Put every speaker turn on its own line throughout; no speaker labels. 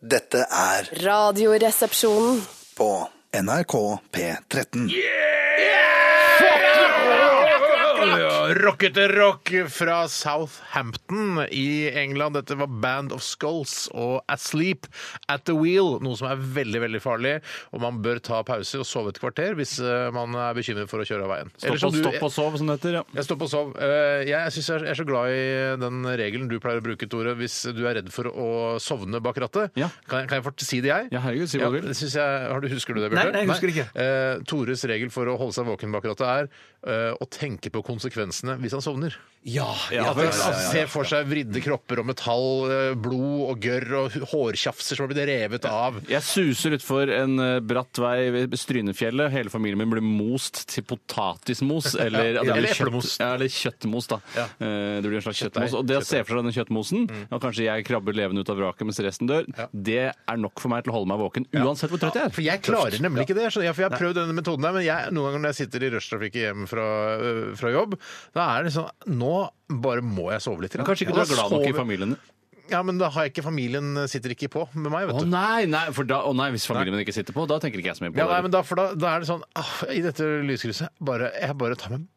Dette er
Radioresepsjonen.
på NRK P13.
Rockete rock fra Southampton i England. Dette var Band of Skulls og Asleep at the Wheel, noe som er veldig veldig farlig. Og man bør ta pauser og sove et kvarter hvis eh, man er bekymret for å kjøre av veien. Eller som
Stopp og,
du-
stopp og sov, som det heter. Ja.
Jeg stopper og sov. Eh, Jeg, synes jeg er så glad i den regelen du pleier å bruke, Tore, hvis du er redd for å sovne bak rattet.
Ja.
Kan, jeg- kan jeg fort si det, jeg?
Ja, herregud, si hva du vil.
det synes jeg, har du, husker du det,
Nei, nei, jeg husker ikke.
Eh, Tores regel for å holde seg våken bak rattet er eh, å tenke på konsekvensene hvis han sovner.
Ja,
At han ser for seg vridde kropper og metall, eh, blod og gørr og hu- hårtjafser som har blitt revet av.
Jeg suser utfor en eh, bratt vei ved Strynefjellet. Hele familien min blir most til potatismos. Eller, at det
Eller
blir kjøtt-
eplemos.
Ja, eller kjøttmos, da. Eh, Det blir en slags kjøttmos. Og det å se for seg den kjøttmosen, og kanskje jeg krabber levende ut av vraket mens resten dør, det er nok for meg til å holde meg våken uansett hvor trøtt jeg er.
For jeg klarer nemlig ikke det. skjønner jeg, for jeg har prøvd denne metoden her, men jeg, noen ganger når jeg sitter i rushtrafikk hjem fra, øh, fra jobb, da er det sånn Nå bare må jeg sove litt.
Men Kanskje ikke du er glad nok i familien?
Ja, men da har jeg ikke familien eh, sitter ikke på med meg,
Å
vet du.
nei, nei, for da, å nei, hvis familien min ikke sitter på, da tenker ikke jeg så mye på
Ja, nei,
det.
men da, for da, da er det sånn ah, I dette lyskrysset bare, Jeg bare tar meg en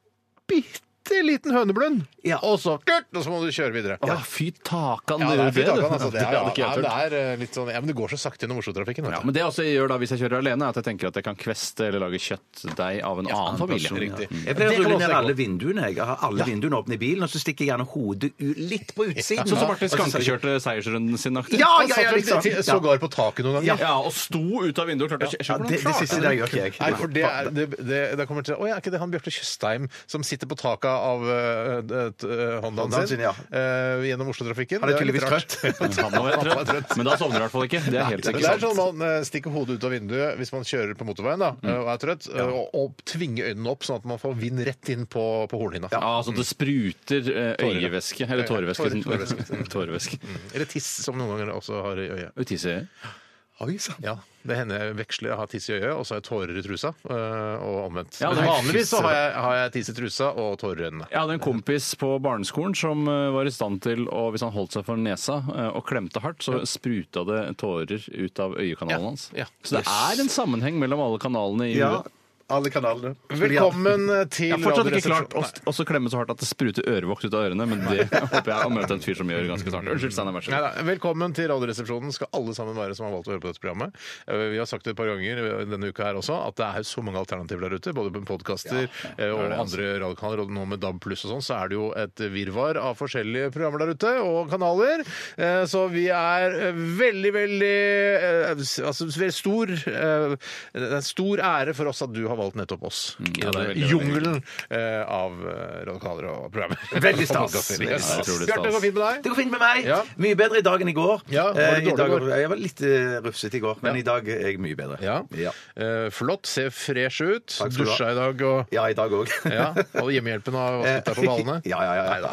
bitte liten høneblund,
Ja.
og så kurt, Og så må du kjøre videre.
Å, fy takan,
Ja,
du
det er
gjorde
fint,
du.
Hakan, altså, det, er,
hadde ikke
ja,
jeg
men
turt.
det er eh, litt sånn, ja, men det går så sakte gjennom Oslo-trafikken. vet
Ja,
du.
men det også jeg gjør da hvis jeg kjører alene, er at jeg tenker at jeg kan kveste eller lage kjøttdeig av en annen familie.
person, riktig.
Mm.
Jeg pleier
Det
å
kan
rulle
også
ned
gå.
alle vinduene. Jeg Jeg har alle vinduene åpne i bilen, og så stikker jeg gjerne hodet u- litt på utsiden.
Sånn som Martin
Og så-
Skanke kjørte seiersrunden sin aktig.
Ja,
Han
ja,
satt
ja,
vel
liksom.
til-
Ja.
Sågar på taket noen ganger.
Ja, og sto ut av vinduet og klarte å kjøre.
Ja,
Hvordan
det, det
klarte
siste
han
der gjør ikke jeg.
Nei, for det er, det, det, det kommer til, å, ja, er ikke det han Bjarte Tjøstheim som sitter på taket av øh, øh, øh, Hondaen
Hondaen
sin
sin, ja.
øh, gjennom Oslo-trafikken?
Han er
Det litt
tydeligvis
rart.
Han var jo trøtt, Men da sovner du i hvert fall ikke. Det er helt
Det
sikkert.
er sånn man øh, stikker hodet ut av vinduet hvis man kjører på motorveien da, øh, og er trøtt, øh, og, og tvinger øynene opp sånn at man får vind rett inn på, på hornhinna.
Ja, altså det spruter eh, øyevæske, eller tårevæske.
Tårer,
som- Tårevæske.
Eller tiss, som noen ganger også har i øyet.
Og tisse.
Oi, sant.
Ja, Det hender jeg veksler. Jeg har tiss i øyet, og så har jeg tårer i trusa. øh, Og omvendt.
Ja,
Men
det-
vanligvis så har jeg, har jeg tiss i trusa og tårer i øynene.
Jeg hadde en kompis på barneskolen som eh, var i stand til å, hvis han holdt seg for nesa eh, og klemte hardt, så spruta det tårer ut av øyekanalen hans.
ja.
Så det er en sammenheng mellom alle kanalene i
Ja,
huet.
alle kanalene.
Velkommen til
Jeg har fortsatt ikke
Radioresepsjonen.
klart å å så klemme så hardt at det spruter ørevoks ut av ørene, men det håper jeg å møte en fyr som gjør ganske snart. Unnskyld, Steinar, vær så god.
Neida, velkommen til Radioresepsjonen skal alle sammen være som har valgt å høre på dette programmet. Eh, Vi har sagt det et par ganger eh, denne uka her også, at det er så mange alternativer der ute. Både på podkaster eh, og
altså.
andre radiokanaler, og nå med DAB pluss og sånn, så er det jo et virvar av forskjellige programmer der ute, og kanaler. Eh, Så vi er eh, veldig, veldig eh, Altså veldig stor eh, Det er en stor ære for oss at du har valgt nettopp oss i
Mm, ja, det er
denne
veldig, veldig
jungelen eh, av eh, radiokanaler og programmer.
Veldig stas.
Og podcaster.
Veldig
Yes.
stas.
Bjarte, det går fint med deg?
Det går fint med meg.
Ja.
Mye bedre i dag enn i går.
Ja, var det
Eh,
dårlig
I dag,
i går?
Jeg var litt eh, rufsete i går, men
Ja.
i dag er jeg mye bedre.
Ja.
Ja,
Eh, flott, ser fresh ut.
Takk skal du ha.
Dusja i dag og
Ja, i dag òg.
ja, og hjemmehjelpen har vasket deg på ballene.
Ja, ja, ja.
Neida.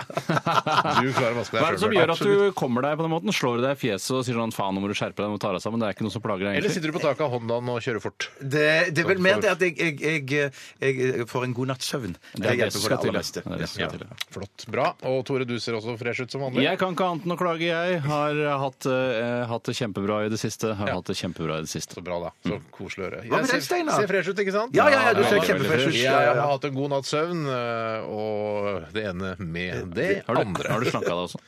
Du klarer å vaske deg
Hva er det som
selv,
gjør at
Bjørn.
du kommer deg på den måten? Slår du deg i fjeset og sier sånn faen, nå må du skjerpe deg, nå tar deg sammen. Det er ikke noe som plager
Eller
deg egentlig.
sitter du på taket av Hondaen og kjører fort?
Det, det er vel
Som
mer
for-
det at jeg, jeg, jeg, jeg får en god natts søvn.
Det er det
hjelper
som
på
skal
det
til. ja.
aller meste.
Det er det som
Ja.
skal til, ja.
Flott. Bra. Og Tore, du ser også fresh ut som vanlig.
Jeg kan ikke annet enn å klage, jeg. Har hatt, eh, hatt det kjempebra i det siste. Har
Ja.
hatt det kjempebra i det siste.
Så bra, da.
Mm.
Så koselig å høre. Jeg
med deg,
ser,
Steinar?
ser fresh ut, ikke sant?
Ja, ja, ja, du
ser
da, veldig
kjempefresh
ut.
fresh.
Ja, ja, ja.
Jeg har hatt en god natts søvn, eh, og det ene med det
Har du,
andre.
har du slanka deg også?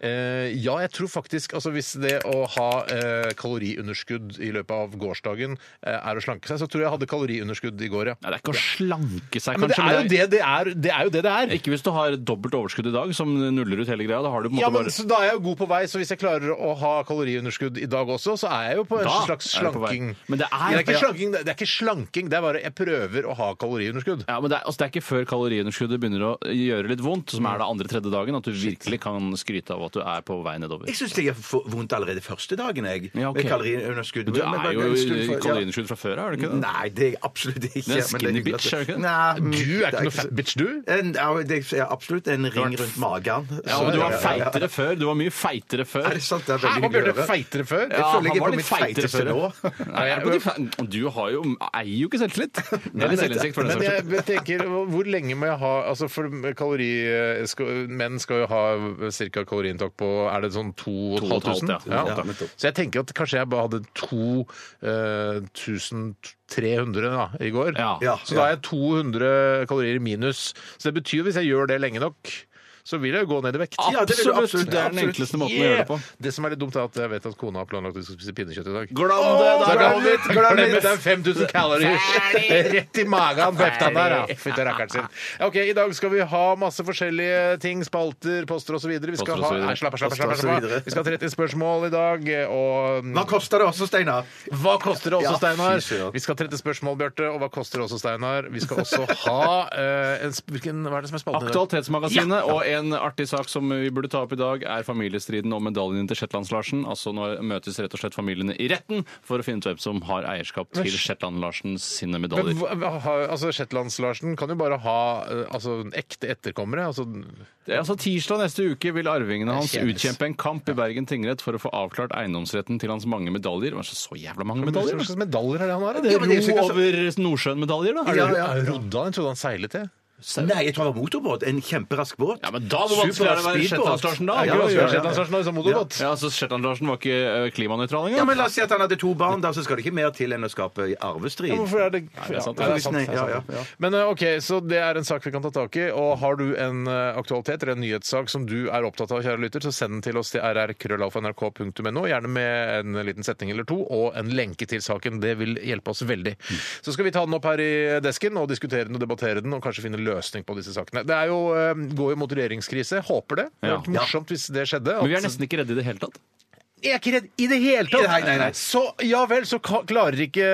Eh, ja, jeg tror faktisk altså Hvis det å ha eh, kaloriunderskudd i løpet av gårsdagen eh, er å slanke seg, så tror jeg jeg hadde kaloriunderskudd i går, ja.
Nei, det er ikke å slanke seg,
Men det
kanskje.
er jo
men
det det er. Det er, jo det det er.
Ikke hvis du har dobbelt overskudd i dag, som nuller ut hele greia. Da har du på en
Ja, men
måte bare
så Da er jeg jo god på vei, så hvis jeg klarer å ha kaloriunderskudd i dag også, så er jeg jo på en
Da
slags
er jeg på vei.
slanking.
Men det er-
ikke
ja.
slanking, det det er ikke slanking, det er bare jeg prøver å ha kaloriunderskudd.
Ja, men det er, altså, det er ikke før kaloriunderskuddet begynner å gjøre litt vondt, som er det andre-tredje dagen, at du virkelig kan skryte av at du er på vei nedover.
Jeg syns det gjør for- vondt allerede første dagen, jeg.
Ja, ok.
Med kaloriunderskudd.
Men du
Men
er
bare-
jo
unnskyld
i
for- ja.
kaloriunderskudd fra før, er du ikke det?
Nei, det er jeg absolutt ikke.
er en
men
skinny
hyggelig
bitch,
at-
er du ikke det?
Nei,
Du er ikke noe
så-
fat bitch, du.
En, ja, det er absolutt en ring rundt magen.
Ja, og du var
Ja, ja, ja.
feitere før. Du var mye feitere før.
Er det sant? Det er
Hæ,
veldig
var
hyggelig å
Bjarte
høre.
feitere før?
Ja,
føler jeg
han
er
var litt
på mitt
feitere
feiteste
før.
nå.
Nei, er det på de fe- Du har jo, eier jo ikke selvtillit. Eller selvinnsikt, for
Men
den saks skyld.
jeg tenker, eh, hvor lenge må jeg ha altså for kalori, skal, Menn skal jo ha ca. kalorien inntak på Er det sånn 2500?
2500, ja. Ja, nettopp.
Så jeg tenker at kanskje jeg bare hadde eh, 2300 da, i går.
Ja.
Ja,
så da er jeg 200 kalorier i minus. Så det betyr hvis jeg gjør det lenge nok, så vil jeg jo gå ned i vekt.
Ah,
Ja, det vil du absolutt.
Det er den
Absolutt.
enkleste måten å gjøre det på.
Det som er litt dumt, er at jeg vet at kona har planlagt at vi skal spise pinnekjøtt i dag.
Glem det!
Så
Da
jeg
er
glemmer
det
det. Jeg glemmer det. Det er 5000 kalorier rett i magen på hefta der. ja. Fytti rakkeren sin. Ja, Ok, I dag skal vi ha masse forskjellige ting. Spalter, poster osv. Vi
Poster
skal
og
ha
så videre.
Nei, slapp av, slapp av, slapp
Poster og så
av, slapp av.
videre.
Vi skal ha 30 spørsmål i dag. Og
Hva koster det også, Steinar?
hva koster det også,
Ja,
Steinar?
fy søren.
Vi skal ha 30 spørsmål, Bjarte. Og hva koster det også, Steinar? Vi skal også ha eh, en, sp- hvilken, Hva er det som er spalten i dag?
Aktualitetsmagasinet og en artig sak som vi burde ta opp i dag, er familiestriden om medaljene til Shetlands-Larsen. Altså nå møtes rett og slett familiene i retten for å finne ut hvem som har eierskap til Shetland-Larsen sine
Men
medaljer.
hva- hva- ha- Altså, Shetlands-Larsen kan jo bare ha eh, altså, ekte etterkommere. Altså,
Det er Altså Tirsdag neste uke vil arvingene hans
Kjendis.
utkjempe en kamp i Bergen tingrett for å få avklart eiendomsretten til hans mange medaljer. Det var så- så jævla mange medaljer!
Hva
da.
slags medaljer er det han har? da?
Det
Ja, men det er
er
sikkert
ro
så-
over Nordsjøen-medaljer, da.
Ja,
Er
ja.
det Rodda? Jeg trodde han seilet til.
Nei, jeg tror det var motorbåt. En kjemperask båt.
Ja, men da hvor vanskelig er det å være
Superspeedbåt.
Shetlands-Larsen, da?
Ja,
Ja,
ja, ja.
Ja, altså Shetland-Larsen var ikke eh, klimanøytral engang?
Ja, men La oss si at han hadde to barn, da, så skal det ikke mer til enn å skape arvestrid.
Ja, hvorfor er det
det er sant,
Ja,
det er
sant,
sant.
det er sant.
Ja, ja, ja.
Men eh, OK, så det er en sak vi kan ta tak i. Og har du en eh, aktualitet eller en nyhetssak som du er opptatt av, kjære lytter, så send den til oss til rrkrøllalfa.nrk.no. Gjerne med en liten setning eller to og en lenke til saken. Det vil hjelpe oss veldig. Så skal vi ta den opp her i desken og diskutere den og debattere den og kanskje finne løsning på disse sakene. Det er jo, eh, går jo mot regjeringskrise. Håper det. Det hadde
Ja.
vært morsomt hvis det skjedde.
Men vi er
at-
nesten ikke redde i det hele tatt.
Jeg er ikke redd i det hele tatt!
Nei, nei, nei.
Så ja vel, så ka- klarer ikke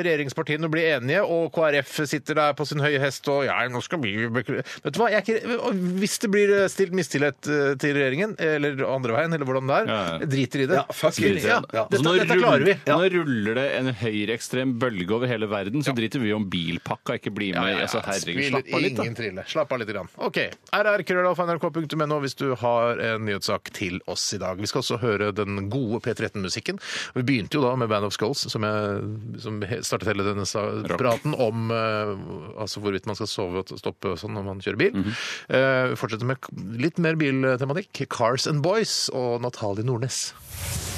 regjeringspartiene å bli enige, og KrF sitter der på sin høye hest og ja, nå skal vi bekl- Vet du hva, jeg er ikke, og hvis det blir stilt mistillit eh, til regjeringen, eller andre veien, eller hvordan det er,
Ja, ja.
driter i det.
Ja, fuck it.
Ja,
Ja.
Dette,
Altså, nå
dette
rull-
klarer vi.
Nå ruller det en høyreekstrem bølge over hele verden, så driter vi om bilpakka ikke blir med. Altså, herregud,
Spiller
slapp av litt, da.
Ingen trille. Slapp av litt. Grann. OK. rrkrøllalfa.nrk.no hvis du har en nyhetssak til oss i dag. Vi skal også høre den gode P13-musikken. Vi begynte jo da med Band of Skulls, som, jeg, som he- startet hele denne sa- praten om eh, altså hvorvidt man skal sove og stoppe og sånn når man kjører bil.
Mhm.
Eh, vi fortsetter med k- litt mer biltematikk. Cars and Boys og Natalie Nordnes.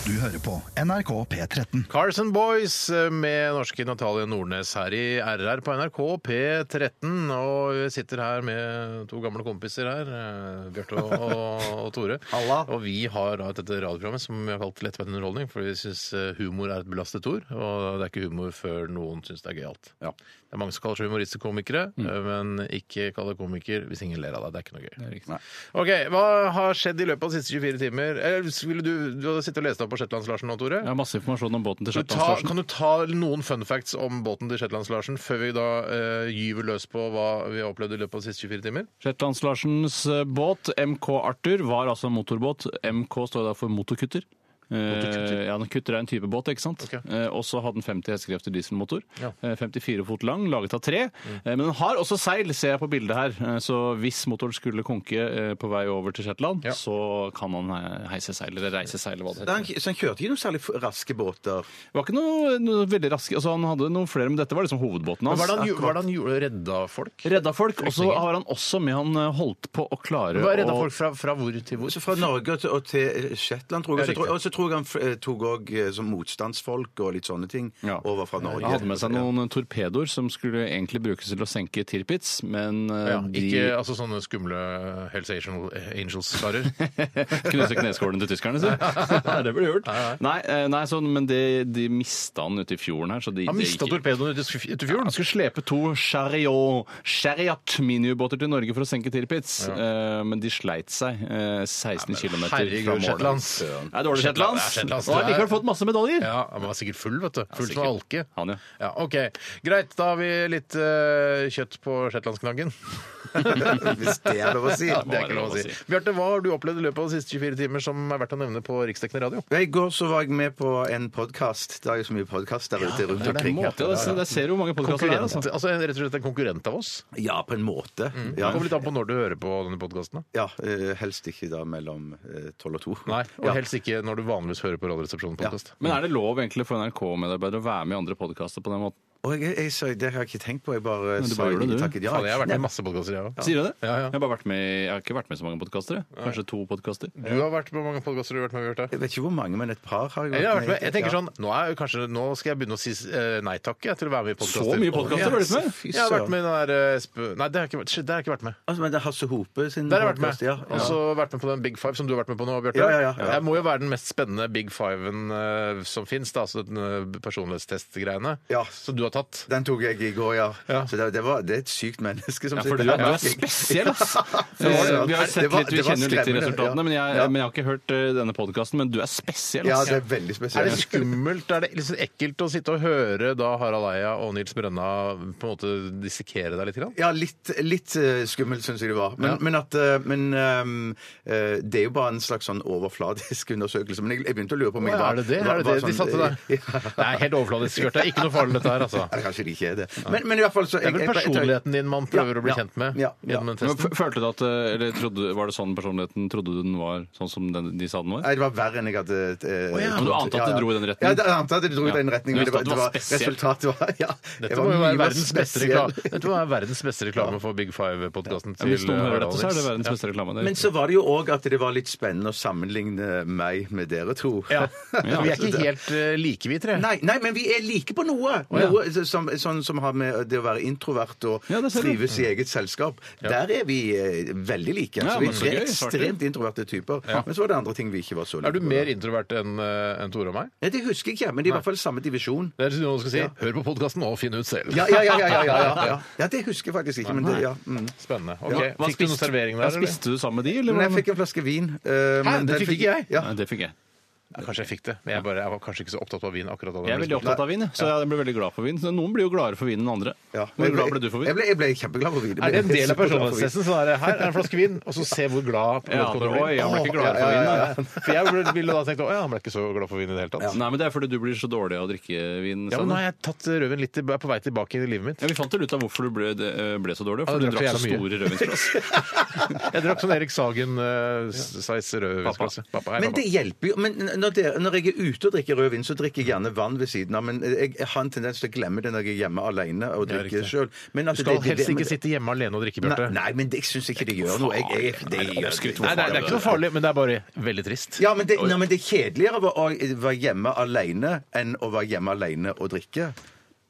Du hører på NRK P13.
Cars and Boys eh, med norske Natalie Nordnes her i RR på NRK P13. Og vi sitter her med to gamle kompiser her, eh, Bjarte og, og, og Tore.
Halla.
Og vi har da dette radioprogrammet som vi har kalt Lettbeint underholdning, for vi syns humor er et belastet ord. Og det er ikke humor før noen syns det er gøyalt.
Ja.
Det er mange som kaller seg humorister komikere, eh, men ikke kall deg komiker hvis ingen ler av deg. Det er ikke noe gøy. Ok, Hva har skjedd i løpet av de siste 24 timer? Eh, ville du, du hadde sittet og lest deg opp på Shetlands-Larsen nå, Tore?
Jeg har masse informasjon om båten til
Kan du, ta,
Shetlands-Larsen.
kan du ta noen fun facts om båten til Shetlands-Larsen før vi da eh, gyver løs på hva vi har opplevd i løpet av de siste 24 timer?
Shetlands-Larsens eh, båt, MK Arthur, var altså en motorbåt. MK står da for motorkutter.
Motorkutter?
Eh, ja, en kutter er en type båt, ikke sant?
Ok.
Eh, og så hadde den 50 hestekrefter dieselmotor.
Ja. Mm.
Eh, 54 fot lang, laget av tre. Eh, men den har også seil, ser jeg på bildet her. Eh, så hvis motoren skulle konke eh, på vei over til Shetland,
Ja.
så kan han eh, heise seil, eller reise seil, eller hva det
Da
heter.
han, så han kjørte ikke noen særlig f- raske båter.
Det var ikke noe, noe veldig raske, altså han hadde noen flere, men dette var liksom hovedbåten
Hva
hans.
er det han, gjo- hva er det han gjorde? Redda folk?
Redda folk, og så
Flyktninger.
har han også med han eh, holdt på å klare
Hva er redda
å-
folk fra, fra hvor til hvor?
Så fra Norge og til, og til Shetland, tror
Ja,
jeg. Og så tror-
riktig.
Og så tror jeg han f- eh, tok òg som motstandsfolk og litt sånne ting
Ja.
over fra Norge.
Han hadde med seg noen torpedoer som skulle egentlig brukes til å senke Tirpitz, men eh,
Ja,
de
ikke altså, sånne skumle Hells Angel- Angels-karer.
knuse kneskålen til tyskerne, sier Nei, det burde gjort. Nei, eh, nei sånn, men de, de mista han ute i fjorden her, så de
Han
det
mista
gikk-
torpedoen ute i sf- ute i
Han
fjorden.
skulle slepe to chariot, chariot miniubåter til Norge for å senke Tirpitz, eh, men de sleit seg eh, 16 km fra
Herregud,
målet.
Shetlands.
Det er dårlig Shetlands.
Det er Shetlands.
Og har likevel fått masse medaljer.
Ja, Han var sikkert full, vet du. Full som
sikkert.
alke.
Han, ja.
Ja, OK. Greit, da har vi litt eh, kjøtt på shetlandsknaggen.
Hvis det er lov å si.
Det er ikke lov å si. Bjarte, hva har du opplevd i løpet av de siste 24 timer som er verdt å nevne på riksdekkende radio?
Ja, I går så var jeg med på en podkast. Det er jo så mye podkast der ute rundt
Det er
omkring.
måte, ja, Der ser du hvor mange podkaster det er.
Konkurrent,
Altså.
altså. Rett og slett en konkurrent av oss.
Ja, på en måte.
Mm. Det
Ja,
kommer litt an på når du hører på denne podkasten.
ja eh, Helst ikke da mellom eh, tolv og to.
Nei, og
Ja.
helst ikke når du vanligvis hører på Radioresepsjonen-podkast.
Men er det lov egentlig for NRK-medarbeidere å være med i andre podkaster på den måten?
Og jeg, jeg, jeg, det har jeg ikke tenkt på. Jeg bare
du
sa
bare gjør det,
jeg-
du.
takket ja.
Faen, jeg har vært med i
Nei,
masse podkaster, jeg òg.
Sier du det?
Ja, ja.
Jeg, har bare vært med, jeg har ikke vært med i så mange podkaster. jeg. Kanskje to podkaster.
Du har vært på mange podkaster du har vært med Bjarte?
Jeg vet ikke hvor mange, men et par har jeg
Jeg har vært med. Jeg tenker
ja.
sånn, nå, er jo kanskje, nå skal jeg begynne å si eh, nei takk jeg, til å være med i podkaster.
Så mye podkaster har du vært med!
Fy
Jeg har vært
søren.
med i den der eh, sp- Nei, det har jeg ikke vært, shit, det har jeg ikke vært med.
Altså, men det er Hasse Hope sin
Der har jeg vært
podcast,
med.
ja.
Og så vært med på den Big Five som du har vært med på nå, Bjarte.
Ja, ja, ja, ja.
Jeg må jo være den mest spennende Big Five-en eh, som fins, altså den eh, personlighetstest-greiene
Ja.
som du har tatt.
Den tok jeg i går, ja.
Ja.
Så det, det, var, det er et sykt menneske som
Ja, for du
sitter
er, du er
her.
spesiell, ass!
Det var det, ja.
Eh, Vi har sett
Det var-
litt, vi
det var
kjenner jo litt til
skremmende,
resultatene,
ja.
men jeg,
Ja.
men jeg har ikke hørt eh, denne podkasten. Men du er spesiell,
Ja,
ass!
det er veldig
Er
spesielt.
det skummelt? Er det litt sånn ekkelt å sitte og høre da Harald Eia og Nils Brenna på en måte dissekere deg litt? Grann?
Ja, litt, litt eh, skummelt syns jeg det var. Men,
Ja.
men at eh, Men ehm, eh, det er jo bare en slags sånn overfladisk undersøkelse. Men jeg, jeg begynte å lure på om
Å,
jeg var
er det det? Er det
var-
det
var
de satte der?
Ja.
Det er helt overfladisk, Bjarte. Ikke noe farlig dette her, altså.
Eller kanskje det ikke er det. Men, men i hvert fall så
Det er vel
jeg- jeg- jeg-
personligheten din man prøver
Ja,
å bli
ja,
kjent med
ja, ja.
gjennom en
Men
test.
f- følte du at, eh, eller trodde, Var det sånn personligheten trodde du den var sånn som den, de sa den var?
Nei, det var verre enn jeg hadde
ja.
eh, trodd.
Men du ante at det dro i den retningen?
Ja, jeg ante at det dro i
Ja.
den retningen.
Du
Men det
visste at
var,
du
det
var
var,
spesiell.
resultatet var ja, jeg
Dette
var
må jo
mye
være
mer
verdens beste
spesiell.
reklame, Dette må være verdens beste reklame for Big Five-podkasten til eh,
Hvis noen hører
Harald
dette, så er det
Nils.
verdens beste reklame. Det er
eh, Men så var det jo òg at det var litt spennende å sammenligne meg med dere to.
Ja. Ja. Vi er ikke helt eh, like, vi tre.
Nei, nei, men vi er like på noe.
ja.
noe som, sånn som har med det å være introvert og
Ja, det ser du.
trives i eget selskap. Der er vi eh, veldig like.
Ja,
Altså,
men så
vi er
gøy,
tre
svarte.
ekstremt introverte typer. Men så var det andre ting vi ikke var så like
Er du
på.
mer introvert enn eh, enn Tore og meg?
Nei, Det husker jeg ikke, men det er i hvert fall samme divisjon.
Det er det noen skal si. Hør på podkasten og finn ut selv.
Ja, ja, ja, ja, ja, ja, ja, ja. ja, det husker jeg faktisk ikke, men det, ja. Mm.
Spennende.
Ja,
Ok,
hva
Fikk du noen
spiste-
servering
ja,
der, eller?
Spiste du sammen med de, eller?
Men jeg
hvordan-
fikk en flaske vin. eh, men
det
den
fikk ikke jeg.
Ja.
Nei, det fikk jeg.
Ja, Kanskje jeg fikk det, men jeg, bare, jeg var kanskje ikke så opptatt av vin akkurat da. det
Jeg er
ble
veldig
spurt.
opptatt av vin, jeg. så jeg ble veldig glad for vin. Så noen blir jo gladere for vin enn andre.
Ja.
Hvor glad ble du for
Jeg
vin?
ble, jeg ble kjempeglad for vin. Jeg
Er det en
ble
del av
kjempeglad for vin.
personlighetstesten? Sånn er det, her er en flaske vin, og så se hvor glad
Ja,
vedkommende
det-
blir.
oi, han ble ikke
Åh,
glad for
ja,
vin,
ja, ja,
da.
ja. For jeg ville- ville da tenkt å ja, han ble ikke så glad for vin i det hele tatt.
Nei, men Det er fordi du blir så dårlig av å drikke vin.
Ja, men
Sanne.
nå har jeg tatt eh, rødvin litt til- er på vei tilbake i livet mitt.
ja, Vi fant vel ut av hvorfor du ble, det, eh, ble så dårlig.
Ja,
For du
du drakk så
drakk
jævla
så store rødvinsglass.
Jeg drakk sånn Erik Sagen-size rødvinsglass. Pappa, hei,
Men
pappa.
det hjelper jo. men når, dere- når jeg er ute og drikker rødvin, så drikker jeg gjerne vann ved siden av. Men eh, jeg har en tendens til å glemme det når jeg er hjemme alene og
riktig.
drikker sjøl.
Du skal helst ikke sitte hjemme alene og drikke, Bjarte.
Nei, nei, men det, jeg syns ikke det gjør noe. Jeg, jeg, det,
Nei, det er oppskrytt.
Nei, det er- det er ikke noe farlig, men det er bare veldig trist.
ja, men det, nei, men det er kjedeligere å være hjemme alene enn å være hjemme alene og drikke.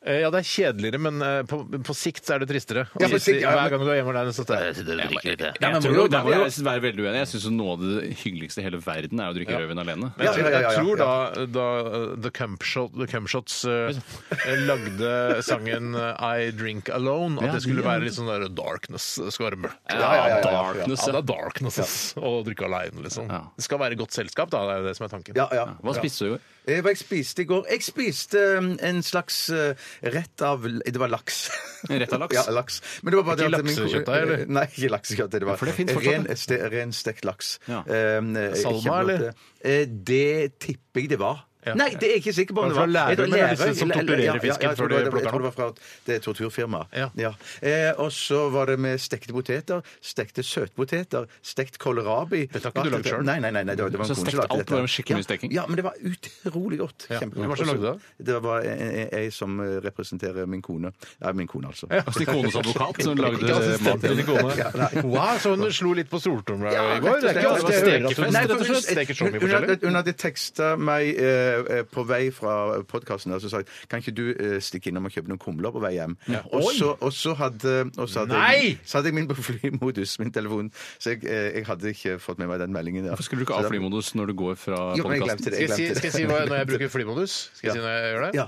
Eh, Ja, det er kjedeligere, men eh, på, på sikt så er det tristere.
Ja, på sikt, ja,
Hver
men-
gang du er hjemme alene, så er det
Ja,
Jeg tror
men må jo-
jo- der må
ja.
jeg være veldig uenig. Jeg syns noe av det hyggeligste i hele verden er å drikke rødvin alene.
Ja, ja, ja, ja,
Jeg
ja.
tror da, da eh, The Cumshot, The Cumshots eh, eh, lagde sangen eh, I Drink Alone,
Ja,
at det skulle
de-
være litt sånn der darkness. Det skal være mørkt.
Ja, ja, ja, ja.
darkness. Ja, det er darkness ass, å drikke alene, liksom.
Ja.
Det skal være godt selskap, da. Det er det som er tanken.
Ja, ja.
Hva spiste du? i går?
Eh, Hva jeg spiste i går? Jeg spiste um, en slags eh, rett av Det var laks.
En rett av laks?
ja, laks. Men det var bare
Ikke
det at min ko- Eh,
laksekjøttdeig, eller?
Nei, ikke laksekjøttdeig. Det var
for det finnes fortsatt,
ren,
det.
ste, ren stekt laks.
Ja.
Um, eh,
Salma,
kjempegodt,
eller?
eh. Eh, Det tipper jeg det var.
Ja.
Nei, det er jeg ikke sikker på om
Var det fra
det var. Jeg tror
Lærøy, men det er disse
Lærøy,
som
eller-
torturerer
ja, ja,
fisken
ja,
før
jeg tror det
de
var-
plukker
Jeg tror
den
det var fra det torturfirmaet.
Ja.
Eh, Og så var det med stekte poteter, stekte søtpoteter, stekt kålrabi.
Dette har ikke du lagd selv?
Nei, nei, nei. nei, det var, det var
Så
en kone som
stekt
lagde
alt
dette.
var jo skikkelig mye steking?
Ja, ja, men det var utrolig godt.
Ja.
Kjempegodt.
Hvem var det som lagde
Det var jeg som eh, representerer min kone. Nei, min kone, altså.
Og Sin kones advokat som lagde
Ikke assistenten
maten.
din kone. Wow, så hun slo litt på stortromma i går. Det er ikke ofte jeg hører at hun
Nei, for
rett og slett steker så mye
sånn hun,
forskjellig.
hadde, hun hadde teksta meg eh, eh, på vei fra podkasten og sagt kan ikke du eh, stikke innom og kjøpe noen kumler på vei hjem. Og så- og så hadde, og så hadde,
Nei!
Jeg, så hadde jeg min på flymodus, min telefon, så jeg, eh, jeg hadde ikke fått med meg den meldingen. der.
Hvorfor skulle du ikke
Så
ha
da-
flymodus når du går fra
Jo, men jeg
podkasten?
glemte det.
Skal jeg, si,
glemte
skal jeg si hva, når jeg bruker flymodus? Skal jeg
Ja.
si når jeg gjør det?
Ja.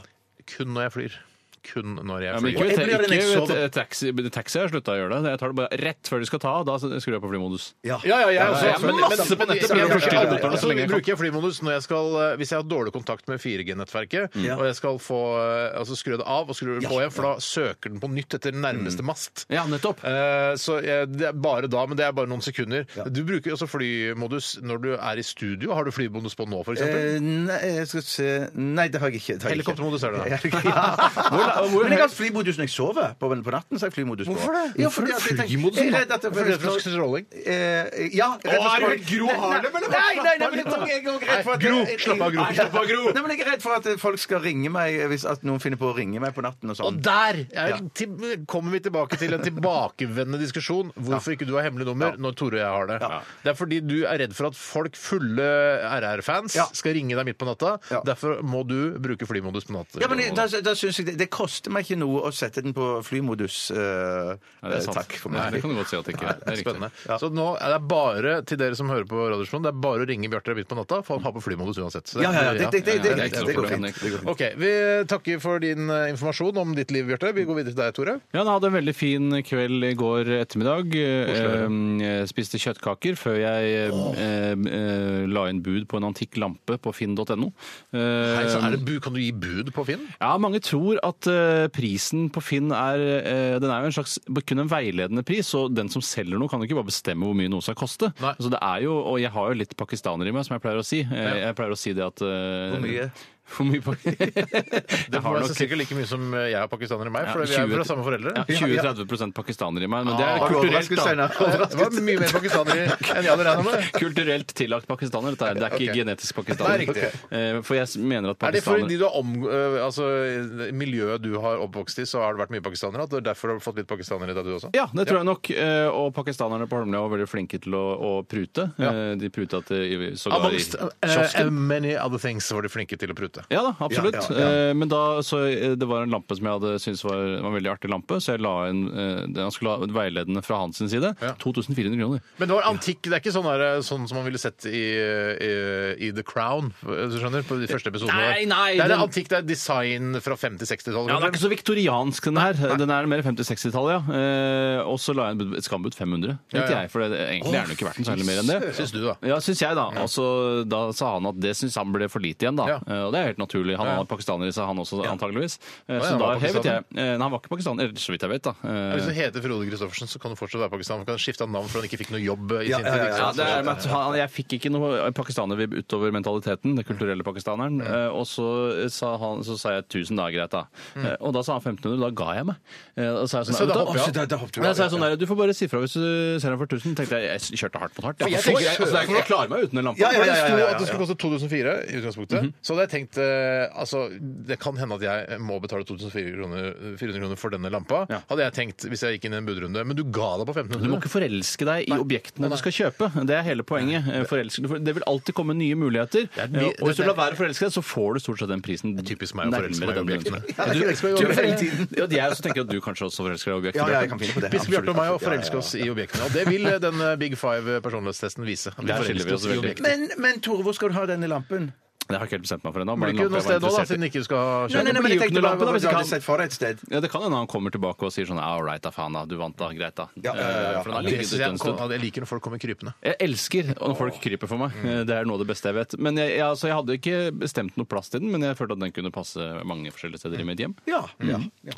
Kun når jeg flyr. Kun når
Ja,
jeg
men
flyr.
ikke
Jeg blir
ikke,
nesten
ikke
så-
taxi, taxi har slutta å gjøre det. Jeg tar det bare rett før de skal ta av. Da skrur jeg på flymodus.
Ja.
Ja, ja, jeg
Ja,
også.
ja,
men-
men
men-
masse på nettet,
men-
men jeg forstyrrer
Ja, ja,
dere
ja.
så
lenge jeg
Så bruker jeg flymodus når jeg skal, eh, hvis jeg har dårlig kontakt med 4G-nettverket,
Mm.
og jeg skal få, eh, altså skru det av og skru det på igjen, for da søker den på nytt etter
Mm.
nærmeste mast.
Ja, nettopp.
Eh, Så jeg, det er bare da, men det er bare noen sekunder. Du bruker jo også flymodus når du er i studio. Har du flymodus på nå, for eksempel?
Eh, nei, jeg skal se Nei, det har jeg ikke. det har jeg ikke.
Helikoptermodus er det da.
Ja.
Hvor
Men jeg har flymodus når jeg sover. På, på natten så har jeg flymodus på.
Hvorfor det?
Ja,
Hvorfor
fordi at jeg tenker-
flymodus?
jeg er redd at jeg-
Fordi at det er stråling?
Eh, ja. redd for
er det
stråling.
Gro Harlem, eller hva?
Nei, nei, nei, men jeg tror jeg er også redd for
Nei,
at
Gro, slapp av, Gro.
Nei,
Slapp av, Gro.
Nei, men jeg er redd for at folk skal ringe meg hvis at noen finner på å ringe meg på natten og
Og
sånn.
der er, til, kommer vi tilbake til en tilbakevendende diskusjon. Hvorfor ikke du har hemmelig nummer når Tore og jeg har det. Det er fordi du er redd for at folk fulle RR-fans
Ja.
skal ringe deg midt på natta.
Ja.
Derfor må du bruke flymodus på natta.
Ja, men da, da synes jeg det, det koster meg ikke noe å sette den på flymodus. eh,
Nei, det er sant.
Takk for
Nei,
meg.
det kan du godt si at det ikke er. Det er
Spennende.
riktig.
Så nå er det bare til dere som hører på Radioresepsjonen, det er bare å ringe Bjarte midt på natta, for han har på flymodus uansett. Så det-
Ja, ja, ja, det- det- det-
det- det-
det går fint. Det går fint.
OK. Vi takker for din eh, informasjon om ditt liv, Bjarte. Vi går videre til deg, Tore.
Ja, han hadde en veldig fin kveld i går ettermiddag. Eh, spiste kjøttkaker før jeg eh, eh, la inn bud på en antikk lampe på finn.no.
Nei, så er
Eh,
det bu, kan du gi bud på Finn?
ja, mange tror at eh, prisen på Finn er eh, Den er jo en slags kun en veiledende pris, så den som selger noe, kan jo ikke bare bestemme hvor mye noe skal koste.
Nei.
Så det er jo, Og jeg har jo litt pakistaner i meg, som jeg pleier å si. Eh, Jeg pleier å si det at eh,
Hvor mye?
Hvor mye pak-
Det
Jeg har
var
nok-
altså sikkert like mye som jeg og pakistanere i meg,
Ja,
for vi er jo
20
fra samme foreldre.
ja, 20-30 pakistanere i meg, men det
Ah,
er
var
du
kulturelt,
overrasket,
da.
Steinar?
Det var mye mer pakistanere enn jeg hadde regna med.
Kulturelt tillagt pakistaner. Dette er, det er ikke
Ok.
genetisk pakistaner.
Nei, riktig.
Eh, For jeg s- mener at
Er det fordi
pakistanere
du har om, eh, altså, miljøet du har oppvokst i, så har det vært mye pakistanere? At du derfor har fått litt pakistanere i deg, du også?
ja, det tror jeg nok. eh, Og pakistanerne på Holmlia var veldig flinke til å, å prute.
Ja.
Eh, De pruta til sågar i
Amongst eh,
kiosken.
many other things var de flinke til å prute.
Ja da, absolutt.
Ja, ja, ja.
Eh, Men da, så eh, det var en lampe som jeg hadde syntes var, var en veldig artig lampe, så jeg la inn eh, den han skulle ha veiledende fra hans side.
Ja.
2400 kroner.
Men det var antikk. Det er ikke sånn, der, sånn som man ville sett i, i, i The Crown, hvis du skjønner? På de første episodene.
Nei, nei,
Det er
den-
det antikk, det er design fra 50-60-tallet.
Ja, Den er ikke så viktoriansk, den her. Den er mer 50-60-tallet, ja. Eh, Og så la jeg en bud- et skambud 500,
Ja,
tenkte
ja.
jeg. For det, egentlig er den jo ikke verdt noe særlig mer enn det.
Syns du, da?
Ja, syns jeg, da. Og så da sa han at det syns han ble for lite igjen, da.
Ja.
Eh, Og det er helt naturlig. Han
Ja.
har pakistaner i seg, han også, antageligvis. Eh,
ja,
Så
han
da
var
hevet jeg
pakistaner.
eh, Nei, han var ikke pakistaner, eller så vidt jeg vet, da. Eh,
Hvis du heter Frode Christoffersen, så kan du fortsatt være pakistaner. Du kan skifte av navn for han ikke fikk noe jobb eh, i
Ja,
sin
ja,
tid. liksom.
ja,
ikke
Ja,
sant?
det er, men han, jeg fikk ikke noe pakistanervibb utover mentaliteten, den kulturelle pakistaneren. Eh, og så sa, han, så sa jeg 1000 da, greit da. Eh, og da sa han 1500, da ga jeg meg. Eh, og så er jeg sånn,
Mm. Så da
vet du-
hopper jeg av.
Så da- da hopper du
Nei,
av,
så er jeg
ja,
sånn, der, du får bare si fra hvis du ser den for 1000. tenkte jeg, jeg kjørte hardt mot hardt.
jeg
jeg,
tenker-
jeg, altså, det er ikke- jeg klarer meg uten den lampa.
Ja, ja,
For
ja,
det
ja,
sto
ja,
at det
ja. Mhm.
skulle koste 2004 i utgangspunktet. Så hadde jeg tenkt eh, altså, Det kan hende at jeg må betale 2400 kroner, 400 kroner for denne lampa,
Ja.
hadde jeg tenkt hvis jeg gikk inn i en budrunde. Men du ga deg på
Du
1500.
må ikke forelske deg i objektene du skal kjøpe. Det er hele poenget. Eh, Forelske, for det vil alltid komme nye muligheter.
er
eh,
mye-
og hvis du
det-
lar være å forelske deg, så får du stort sett den prisen.
Typisk meg å forelske meg i
nærmere den
objektene.
du-
Ja, jeg forelsker meg i
Du-
objektene.
Ja, jeg også tenker at du kanskje også forelsker deg i objektene.
Ja, ja, jeg kan finne på det.
Typisk Bjarte og meg å
Absolutt, absolutt. Ja, ja, ja.
forelske oss i objektene. Og det vil eh, den eh, Big Five personlighetstesten vise. Vi
Der
forelsker
skiller vi oss
oss i
veldig.
objektene.
Men, men Tore, hvor skal du ha denne lampen?
Det har jeg ikke helt bestemt meg for ennå.
Blir
bare
det ikke
en lampe
noe
jeg var
sted nå, da,
interessert i.
siden ikke du skal kjøpe?
Nei, nei, nei, men jeg tenkte bare, hvis
hva du
jeg kan-
hadde sett for deg et sted.
Ja, Det kan hende han kommer tilbake og sier sånn All right, da faen, da. Du vant, da. Greit, da.
Ja, ja, ja, ja.
Eh, For den har
Det
ligget
synes
ute en
jeg,
stund.
jeg liker når folk kommer krypende.
Jeg elsker når folk kryper for
Mm.
meg. Eh, Det er noe av det beste jeg vet. Men jeg, jeg, altså, jeg hadde ikke bestemt noe plass til den, men jeg følte at den kunne passe mange forskjellige steder i mitt hjem.
Ja, ja, ja.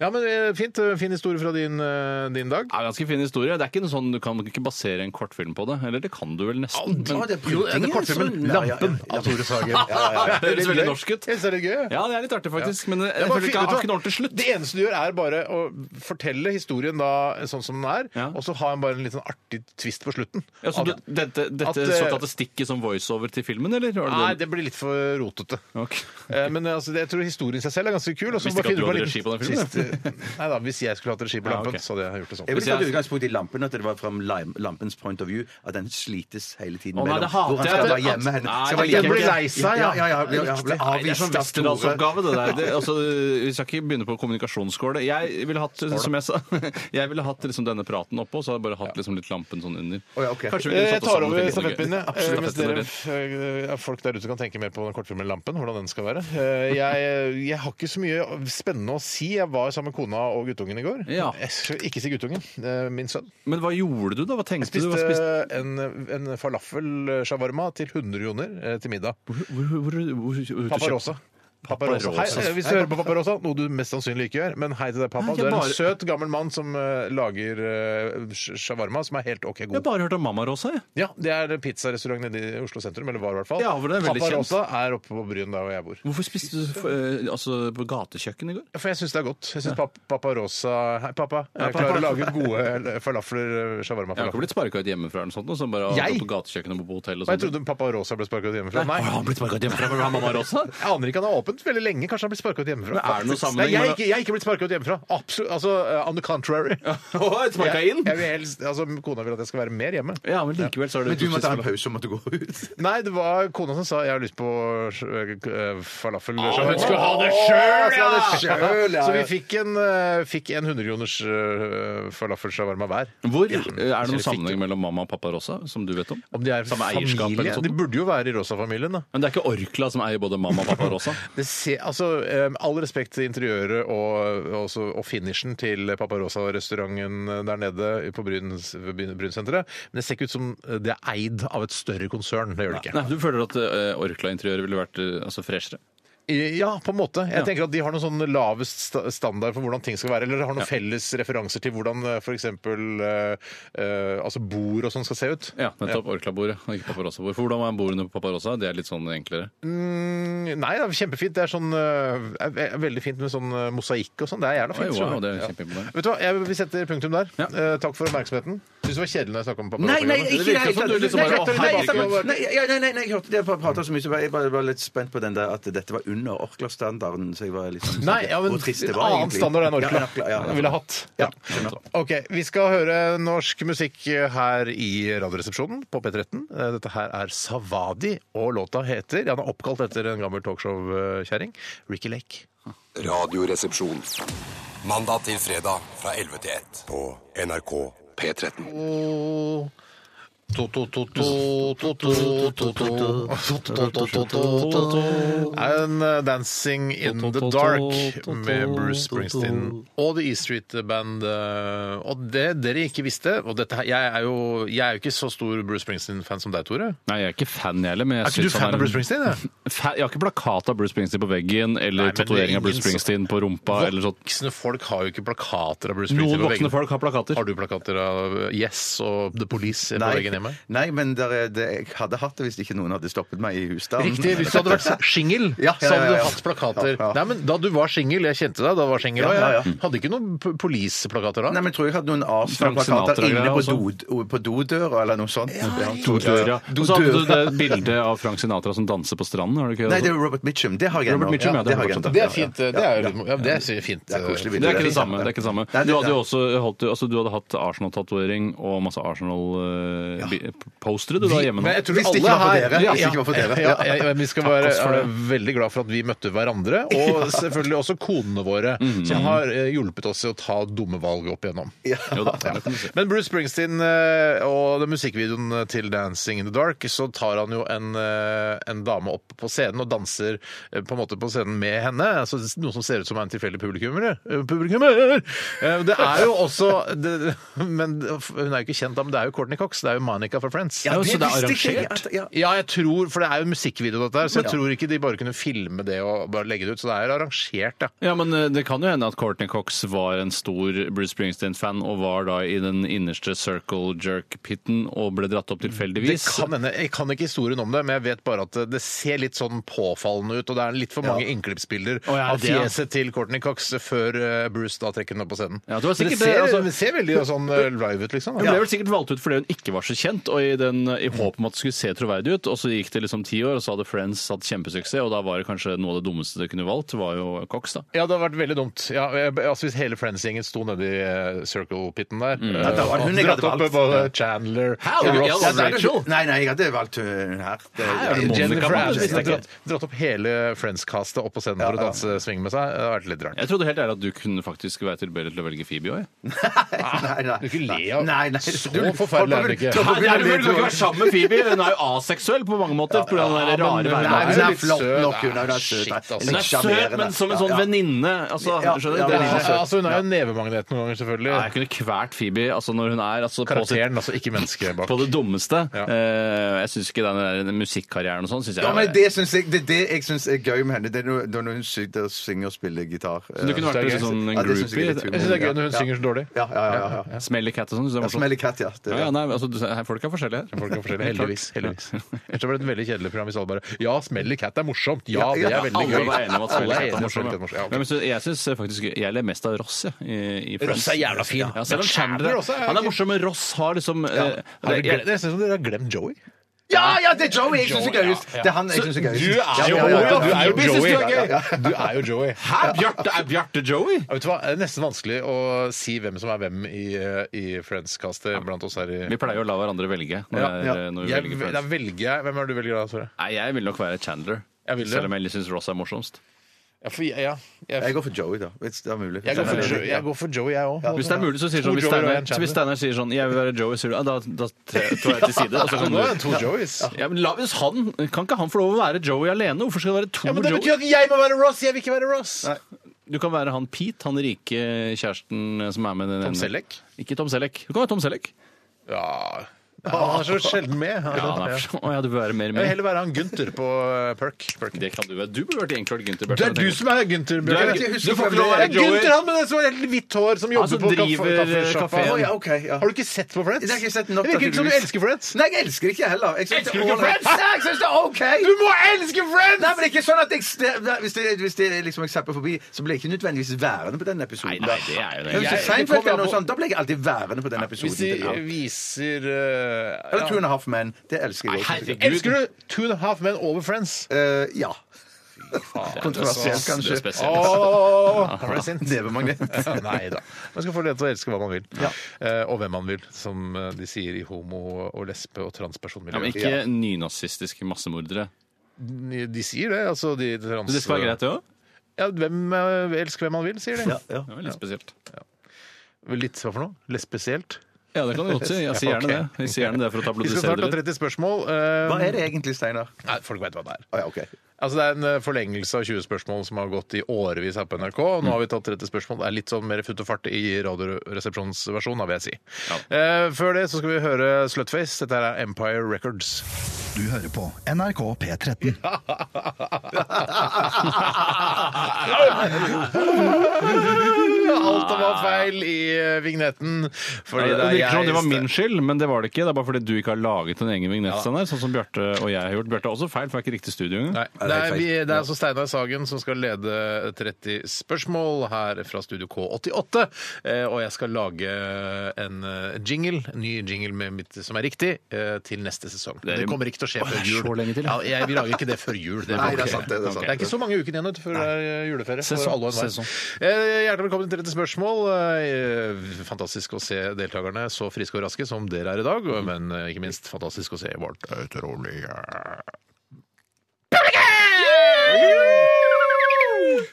Ja, men eh, fint. eh, Fin historie fra din, eh, din dag.
Det er en ganske fin historie. Det er ikke noe sånn, Du kan ikke basere en kortfilm på det. Eller det kan du vel nesten.
Å, det er
Jo, det er
prutingen,
kortfilmen
sånn. Ja, ja, ja.
'Lampen' av Tore Sagen. Det er
høres
litt gøy.
veldig norsk ut.
Jeg synes det er litt gøy. jeg.
Ja, det er litt artig, faktisk. Men jeg,
Det er bare
jeg
fint,
føler ikke jeg
vet du
har ikke en
hva?
ordentlig slutt.
Det eneste du gjør, er bare å fortelle historien da sånn som den er,
Ja.
og så har han bare en litt sånn artig twist på slutten.
Ja, så du,
At-
dette dette
At, eh,
såkalte stikket som voiceover til filmen, eller? Var
Nei, det blir litt for rotete.
Ok.
Eh, Men altså, det- jeg tror historien i seg selv er ganske kul. og så bare
Visste ikke at du
finner
hadde regi på
en
den filmen,
liten twist. Nei da, hvis jeg skulle hatt regi på
Ja,
Lampen,
ok.
så hadde jeg gjort det
Jeg
sånn.
ville
Hvis jeg-
tatt utgangspunkt i lampen, at det var fra lam- lampens point of view. At den slites hele tiden.
Å, nei,
mellom
det hater
hvor han
jeg.
skal
Det-
være hjemme
at-
henne.
Nei, det liker
Skal være hjemme-
jeg ikke.
Ble lei seg, ja.
ja. ja, ja, ble, ja, ble
Nei, det er
avvist
sånn
av Tore.
Westerdalsoppgave, det der. Det, altså, vi skal ikke begynne på kommunikasjonsskålet. Jeg ville hatt, som jeg sa, jeg ville hatt liksom denne praten oppå, så hadde jeg bare hatt liksom litt lampen sånn under.
Å, ja, ok.
Kanskje vi kunne
Eh, Jeg
satt oss
tar
sammen og
over
tenkt noe gøy.
stafettpinnen. jeg.
Absolutt,
Eh, Mens
stafettpinnen
dere, eh, folk der ute kan tenke mer på den kortfilmen 'Lampen', hvordan den skal være. Eh, Jeg, jeg har ikke så mye spennende å si. Jeg var sammen med kona og guttungen i går.
Ja.
Jeg skal ikke si guttungen. eh, Min sønn.
din. Men hva gjorde du, da? Hva tenkte du? Hva
spiste
spiste?
en, en falafel shawarma til 100 kroner eh, til middag.
Hvor, hvor, hvor, hvor, hvor, hvor,
Paparosa. Paparosa. Hei, eh, hvis du hører på Paparosa, noe du mest sannsynlig ikke gjør, men hei til deg, pappa.
Nei, jeg
Du er en
bare-
søt, gammel mann som eh, lager eh, sh- shawarma som er helt OK
Jeg har
god.
bare hørt om Mamma Rosa, jeg.
Ja, Det er pizzarestaurant nede i Oslo sentrum, eller var i hvert fall.
Ja, for det er veldig kjent.
Paparosa er oppe på Bryn, der hvor jeg bor.
Hvorfor spiste du eh, altså, på gatekjøkken i går?
For jeg syns det er godt. Jeg syns pap Paparosa Hei, pappa. Jeg klarer å lage gode falafler,
Jeg har ikke
shawarma-falafler.
blitt sparka ut hjemmefra eller noe sånt? noe som bare har
Jeg?
gått på gatekjøkkenet og på hotell og
Og jeg
sånt?
trodde Paparosa ble sparket ut hjemmefra.
Har han blitt sparka ut hjemmefra for å ha Mamma Rosa?
Jeg aner ikke, han har åpent veldig lenge. Kanskje han blir sparket ut hjemmefra.
Men er det noe sammenheng
Nei, jeg, er
mellom-
ikke, jeg er ikke blitt sparket ut hjemmefra. Absolutt. Altså, uh, on the contrary.
Sparka
Jeg,
inn?
jeg vil helst, altså, kona vil at jeg skal være mer hjemme.
Ja, men likevel så er det
Men du måtte ha en pause og måtte gå ut.
Nei, det var kona som sa 'jeg har lyst på uh, falafel'.
Ah,
shawarma».
hun skulle ha det
Åh,
selv,
hun skulle ha det
ja!
selv, ja!
Ja,
Så
ja.
vi fikk en, uh, fikk en 100 kroners uh, falafel-shawarma hver.
Hvor eh, Er det
Eller
noen
fikk
sammenheng mellom mamma og pappa Rosa, som du vet om?
Om de er
Samme eierskap
familie?
eller noe sånt.
De burde jo være i Rosa-familien, da.
Men det er ikke Orkla som eier både mamma og pappa Rosa?
Det ser, altså, eh, all respekt til interiøret og, og også- og finishen til Paparosa-restauranten der nede på Bryns- Bryn- Brynsenteret, men det ser ikke ut som øh, det er eid av et større konsern. Det gjør det
Nei,
ikke.
Du føler at eh, Orkla-interiøret ville vært eh, altså, freshere?
Ja, på en måte. Jeg
Ja.
tenker at de har noen sånn lavest sta- standard for hvordan ting skal være, eller har noen felles referanser til hvordan eh, f.eks. eh, altså bord og sånn skal se ut.
Ja, nettopp. Orkla-bordet, og ikke Pappa Rosa-bord. For hvordan er bordene på Pappa Rosa? Det er litt sånn enklere.
Mm, Nei, det er kjempefint. Det er sånn eh, er ve- veldig fint med sånn eh, mosaikk og sånn. Det er jævla fint.
Oi,
skjønner
wow,
du.
det er
Ja.
kjempeimponerende.
Vet du hva, jeg, Vi setter punktum der.
Ja.
Eh, takk for oppmerksomheten. Syns det var kjedelig når jeg snakka om pappa.
ikke det virker som du liksom bare, å, herregud.
Nei, ja, nei, nei, nei, jeg hørte det på prata så mye, så jeg bare var litt spent på den der at dette var under Orkla-standarden. Så jeg var liksom
Nei, ja, men
Hvor trist det
en
var,
annen
egentlig.
standard enn
Ja,
Orkla.
ja, ja.
Jeg ville hatt. Ja. OK, vi skal høre norsk musikk her i Radioresepsjonen på P13. Eh, Dette her er Savadi, og låta heter Ja, den er oppkalt etter en gammel talkshow-kjerring. Ricky Lake.
Radioresepsjon. Mandag til fredag fra 11 til 1 på NRK P13.
And uh, Dancing in the Dark med Bruce Springsteen og The E Street Band. uh, Og det dere ikke visste og dette, her- Jeg er jo jeg er jo ikke så stor Bruce Springsteen-fan som deg, Tore.
Nei, jeg er ikke fan, jeg heller. Men
Er
jeg
ikke du
synes han
fan av
en-
Bruce Springsteen? Ja?
Fa- Jeg har ikke plakat av Bruce Springsteen på veggen eller
men
tatovering av Bruce
ingen-
Springsteen på rumpa. eller sånn. sånt.
Voksne folk har jo ikke plakater av Bruce Springsteen
Noen
på veggen.
voksne folk har plakater.
Har du plakater av Yes og The Police på veggen hjemme?
Nei, nei, men der er det, jeg hadde hatt det hvis ikke noen hadde stoppet meg i husstanden.
Riktig. Hvis du hadde vært singel,
Ja, ja,
så hadde
ja,
du
ja.
hatt plakater.
Ja, ja.
Nei, men Da du var singel, jeg kjente deg da du var singel
Ja,
òg,
ja, ja.
jeg hadde ikke noen p- police-plakater da.
Nei, men jeg tror jeg hadde noen
Frank
Armstrong-plakater
Sinatra-greier altså.
inne på,
også.
do, på dodøra eller noe sånt. Ja,
Dodøra. Og så hadde du
Dodøra.
Altså, det bildet av Frank Sinatra som danser på stranden. har du ikke
Nei, det er Robert Mitchum. Det har jeg
Robert
ennå.
Mitchum, ja, det har
har jeg
fortsatt
ennå.
det er fint. Det
Ja,
er,
ja.
jo- ja, det er så fint.
Det er koselig
Det
bilde.
er ikke det
fint,
samme.
ja.
det er ikke det samme.
Nei,
Du
det-
hadde jo
ja.
også holdt, altså, du hadde hatt Arsenal-tatovering og masse Arsenal-postere du da hjemme
Men
nå.
jeg tror
Visste
alle
ikke hva for
her-
dere.
Ja,
Visste ikke hva for dere.
ja, ja, ja, vi skal være
oss for det.
eh, veldig glad for at vi møtte hverandre, og selvfølgelig også konene våre,
Mm.
som har eh, hjulpet oss til å ta dumme valg opp igjennom.
Jo da, det kan du si.
Men Bruce Springsteen eh, og den musikkvideoen til 'Dancing in the Dark', så tar han jo en, eh, en dame opp på scenen og danser eh, på en måte på scenen med henne. Altså, noe som ser ut som er en tilfeldig publikummer. eh, publikummer! Eh, Det er jo også det, Men hun er jo ikke kjent, da, men det er jo Courtney Cox. Det er jo Monica fra Friends.
Ja, så det er
visste ikke jeg
arrangert.
at- ja.
Ja, jeg tror, for det er jo en musikkvideo, dette her, så jeg tror ikke de bare kunne filme det og bare legge det ut. Så det er arrangert, ja.
Ja, men eh, Det kan jo hende at Courtney Cox var en stor Bruce Springsteen-fan og var da i den innerste circle jerk-pitten og ble dratt opp tilfeldigvis.
Det kan hende. Jeg kan ikke historien om det, men jeg vet bare at det ser litt sånn påfallende ut. Og det er litt for mange innklippsbilder
Å, ja,
av
det, ja.
fjeset til Courtney Cox før eh, Bruce da trekker den opp på scenen.
Ja, det var
Men
sikkert
ser,
det, altså-
det ser veldig sånn eh, live ut, liksom.
Hun ble vel sikkert valgt ut fordi hun ikke var så kjent, og i, den, i håp om at det skulle se troverdig ut. Og så gikk det liksom ti år, og så hadde Friends hatt kjempesuksess, og da var det kanskje noe av det dummeste de kunne valgt, var jo Cox, da.
Ja, det hadde vært veldig dumt. Ja, jeg- altså Hvis hele Friends-gjengen sto nedi eh, circle-pitten der mm.
Ja, da var det hun jeg
Dratt
hadde
opp
valgt.
både Chandler
How
og
the
Ross
hell
og
er
Rachel.
Nei, nei, jeg hadde valgt hun her. Det-
er det Monica
Jennifer
Monica.
Aniston har dratt, dratt opp hele Friends-castet opp på scenen for å danse swing med seg. Det har vært litt rart.
Jeg trodde helt ærlig at du kunne faktisk være tilbøyelig til å velge Phoebe òg.
Nei, nei.
Du kan ikke le av-
Nei, nei.
Så
Du-
forferdelig er det ikke.
Nei,
Topper
det er umulig! Du kan ikke være sammen med Phoebe! Hun er jo aseksuell på mange måter. På grunn av den der rare
Nei,
verden.
hun er
litt
flott
søt.
nok. Hun er
Nei,
søt.
shit, altså.
Hun er søt, men som en sånn venninne. Altså,
Ja,
skjønner
ja,
du? Det er
venninne.
litt-
Ja, altså, hun er jo en nevemagnet noen ganger, selvfølgelig.
Nei, Jeg kunne kvært Phoebe altså, når hun er altså, på, sitt,
Karakteren, altså ikke mennesket bak.
på det dummeste.
Ja.
Eh, jeg syns ikke den der musikkarrieren og sånn synes jeg
Ja, men det, synes jeg, det er det jeg syns er gøy med henne. Det er når- det er når hun synger og, synger og spiller gitar.
Så du kunne vært
det er
litt
gøy.
sånn en
Ja, det synes jeg er
groupie?
litt
Jeg syns det er gøy når hun synger så dårlig.
Ja, ja, ja. ja, ja.
Smelly cat og sånn?
ja
synes jeg er
Smelly
morsomt.
Cat, ja. Det,
Ja, ja, nei, altså, du, her- folk er forskjellige.
Folk er forskjellige, heldigvis.
Ja.
heldigvis. Ellers hadde det vært et veldig kjedelig program hvis alle bare Ja, Smelly Cat er morsomt! Ja,
Ja,
det
ja,
er veldig
Alle
gøy!
var enige om at Smelly
Alle er
Cat
enige
er
om at Smelly Cat er
morsom.
morsomt.
ja.
Ja, ok.
Men jeg synes- jeg syns faktisk Jeg ler mest av Ross, jeg. i- i Friends.
Ross er jævla fin.
Ja, selv om
Men
Chandler
Chandler også er-
Han er morsom, men Ross har liksom eh,
Har dere
det- jeg-
glemt- Det ser ut som dere har glemt Joey.
ja, ja, det er Joey jeg syns er gøyest! Det er han jeg syns er gøyest.
Du
Ja,
er
ja,
jo
ja, ja.
du er jo
Vi synes
Joey!
du er gøy.
Du er jo Joey.
Hæ, Bjarte? Er Bjarte Joey?
Ja, vet du hva? Det er nesten vanskelig å si hvem som er hvem i, eh, i Friends-kastet blant oss her i
Vi pleier å la hverandre velge. Når,
Ja,
det er- når vi
jeg,
velger
da
Friends.
velger jeg Hvem er det du velger da, Tore?
Nei, jeg vil nok være Chandler.
Jeg vil det.
Selv om jeg syns Ross er morsomst.
Ja, for jeg, ja.
Jeg
jeg,
går for Joey, da. Hvis det er mulig.
jeg, går, for Joey, jeg går for Joey, jeg òg.
Hvis det er mulig, så sier
To
sånn, hvis
Joey og
Steinar,
en Chandler.
så hvis Steinar sier sånn 'Jeg vil være Joey', sier du ja, da, da tre- tar jeg til side. Og så
Ja,
kan
nå er det to
du
Joeys.
ja, men la, hvis han, Kan ikke han få lov å være Joey alene? Hvorfor skal det være to
Ja, men det betyr
Joey?
at jeg må være Ross! Jeg vil ikke være Ross!
Du kan være han Pete, han rike kjæresten som er med den
Tom
ene.
Selleck?
Ikke Tom Selleck. Du kan være Tom Selleck.
Ja Ah, Han er så sjelden med. Han er
Ja,
sånn-
han er
ja.
for- Å ja, du vil være mer
Jeg vil
med.
heller være han Gunther på eh, Perk. Perk.
Det kan du være. Du burde vært enklart Gunther
Det er
Bjarte.
du som er Gunther.
Du er-
Bjørn. Jeg
du får ikke
husker
lov å
hvem det
være
er.
Joey.
Gunther, han med det som har helt hvitt hår, som jobber
som
på kaffe-
driver, eh,
kaffeshoppa.
kaféen.
Å, ja,
ok, ja.
Har du ikke sett på Friends?
Det har jeg ikke sett nok
Det
til,
virker ikke som du
tydeligvis.
elsker Friends.
Nei, jeg elsker ikke heller. Jeg
Elsker
synes det
du ikke
er ålreit.
Friends?
Nei, jeg syns det er OK!
Du må elske Friends!
Nei, men det er ikke sånn at jeg ste- Nei, Hvis det, hvis det er liksom jeg zapper forbi, så blir jeg ikke nødvendigvis værende på den
Nei,
episoden.
nei, det er jo det.
Men hvis det
Jeg- det
er
kommer
Seinfeld
an
eller noe
på-
sånt, da blir jeg alltid værende på den episoden.
Hvis de
til alt.
viser eh,
Eller
ja.
Two and a Half Men. Det elsker jeg også.
herregud.
Elsker du Two and a Half Men over Friends?
Eh, ja. Kontroversielt,
Det er
kanskje.
spesielt.
Åh, ble jeg sint?
Nevemagnet.
Nei da. Man skal få lov til å elske hva man vil. Eh, og hvem man vil, som eh, de sier i homo- og lesbe- og
Ja, men
transpersonmiljøet.
ikke nynazistiske massemordere.
Ja, de sier det, altså de trans...
Men det skal være greit, det òg?
Ja, hvem, eh, elsk hvem man vil, sier de.
Ja, ja.
Det var litt spesielt.
Litt hva for noe? Lespesielt?
Ja, det kan du godt si. Jeg sier gjerne det. Jeg sier gjerne det for å
Vi skal snart
tabloidisere
ta
det.
30 spørsmål. eh,
Hva er det egentlig, Steinar?
Nei, folk vet hva det er.
Å, ja, ok.
Altså Det er en eh, forlengelse av 20 spørsmål som har gått i årevis her på NRK. og Nå har vi tatt 30 spørsmål. Det er litt sånn mer futt og fart i Radioresepsjonens versjon, da, vil jeg si. Eh, før det så skal vi høre Slutface. Dette her er Empire Records.
Du hører på NRK P13.
Alt var feil i eh, vignetten. Fordi
Det
det er
virker som om det var
jeg-
min skyld, men det var det ikke. Det er bare fordi du ikke har laget en egen vignett, Steinar, sånn som Bjarte og jeg har gjort. Bjarte er også feil, for det er ikke riktig studio engang.
Nei, det er, vi, det er altså Steinar Sagen som skal lede 30 spørsmål her fra Studio K88. Eh, og jeg skal lage en eh, jingle, en ny jingle med mitt som er riktig, eh, til neste sesong.
er-
Det, det kommer ikke til å skje
Å, det
før
er
jul.
så lenge til,
ja.
ja.
jeg, vi lager ikke det før jul. Det,
Nei,
blir
det er
ok.
sant, det, det er sant.
Det er ikke så mange ukene igjen vet du, før det er eh, juleferie.
Sesong,
for alle og enhver.
sesong.
Eh, Hjertelig velkommen til 30 spørsmål. Eh, Fantastisk å se deltakerne så friske og raske som dere er i dag, og- men eh, ikke minst fantastisk å se vårt utrolige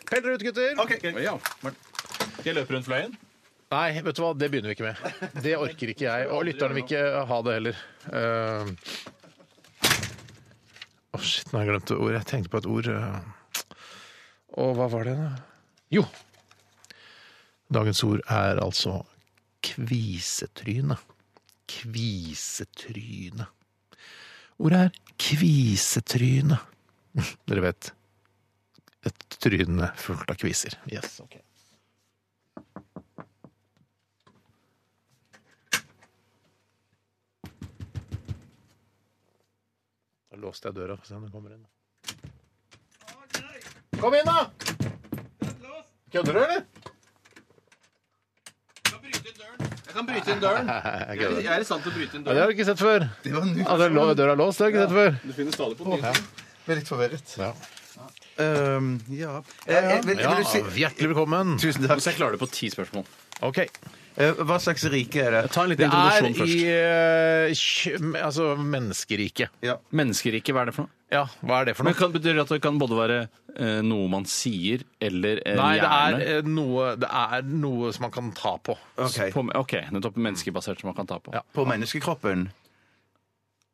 Pell dere ut, gutter.
Ja. Skal jeg løpe rundt fløyen?
Nei, vet du hva, det begynner vi ikke med. Det orker ikke jeg. Og lytterne vil ikke ha det heller. Eh, Å, shit, nå har jeg glemt et ord. Jeg tenkte på et ord eh. Og hva var det, da? Jo. Dagens ord er altså kvisetryne. Kvisetryne. Ordet er kvisetryne. Dere vet. Et tryne fullt av kviser. Yes, ok. Da låste jeg døra. Få se om den kommer inn. Kom inn, da! Kødder du, eller? Jeg kan bryte inn døren. Jeg kan bryte inn døren.
Jeg er i stand til å bryte inn
Ja, det har du ikke sett før. At det er lå- døra er låst, det har du ikke sett før.
Du finner stadig på nytt.
Ble litt forvirret.
Ja.
Um, ja. Eh, eh, vil, vil du si
hjertelig velkommen.
Tusen takk.
Hvis jeg klarer det på ti spørsmål.
Ok.
Eh, Hva slags rike er det?
Ta en liten
Det er
introduksjon
i eh,
først.
kj- altså menneskeriket.
Ja.
Menneskeriket, hva er det for noe?
Ja, hva er det for
Men
noe?
kan, betyr det at det kan både være eh, noe man sier, eller en
Nei, det er,
hjerne?
eh, noe, det er noe som man kan ta på.
Ok.
På, ok, nettopp menneskebasert som man kan ta på.
Ja.
På menneskekroppen?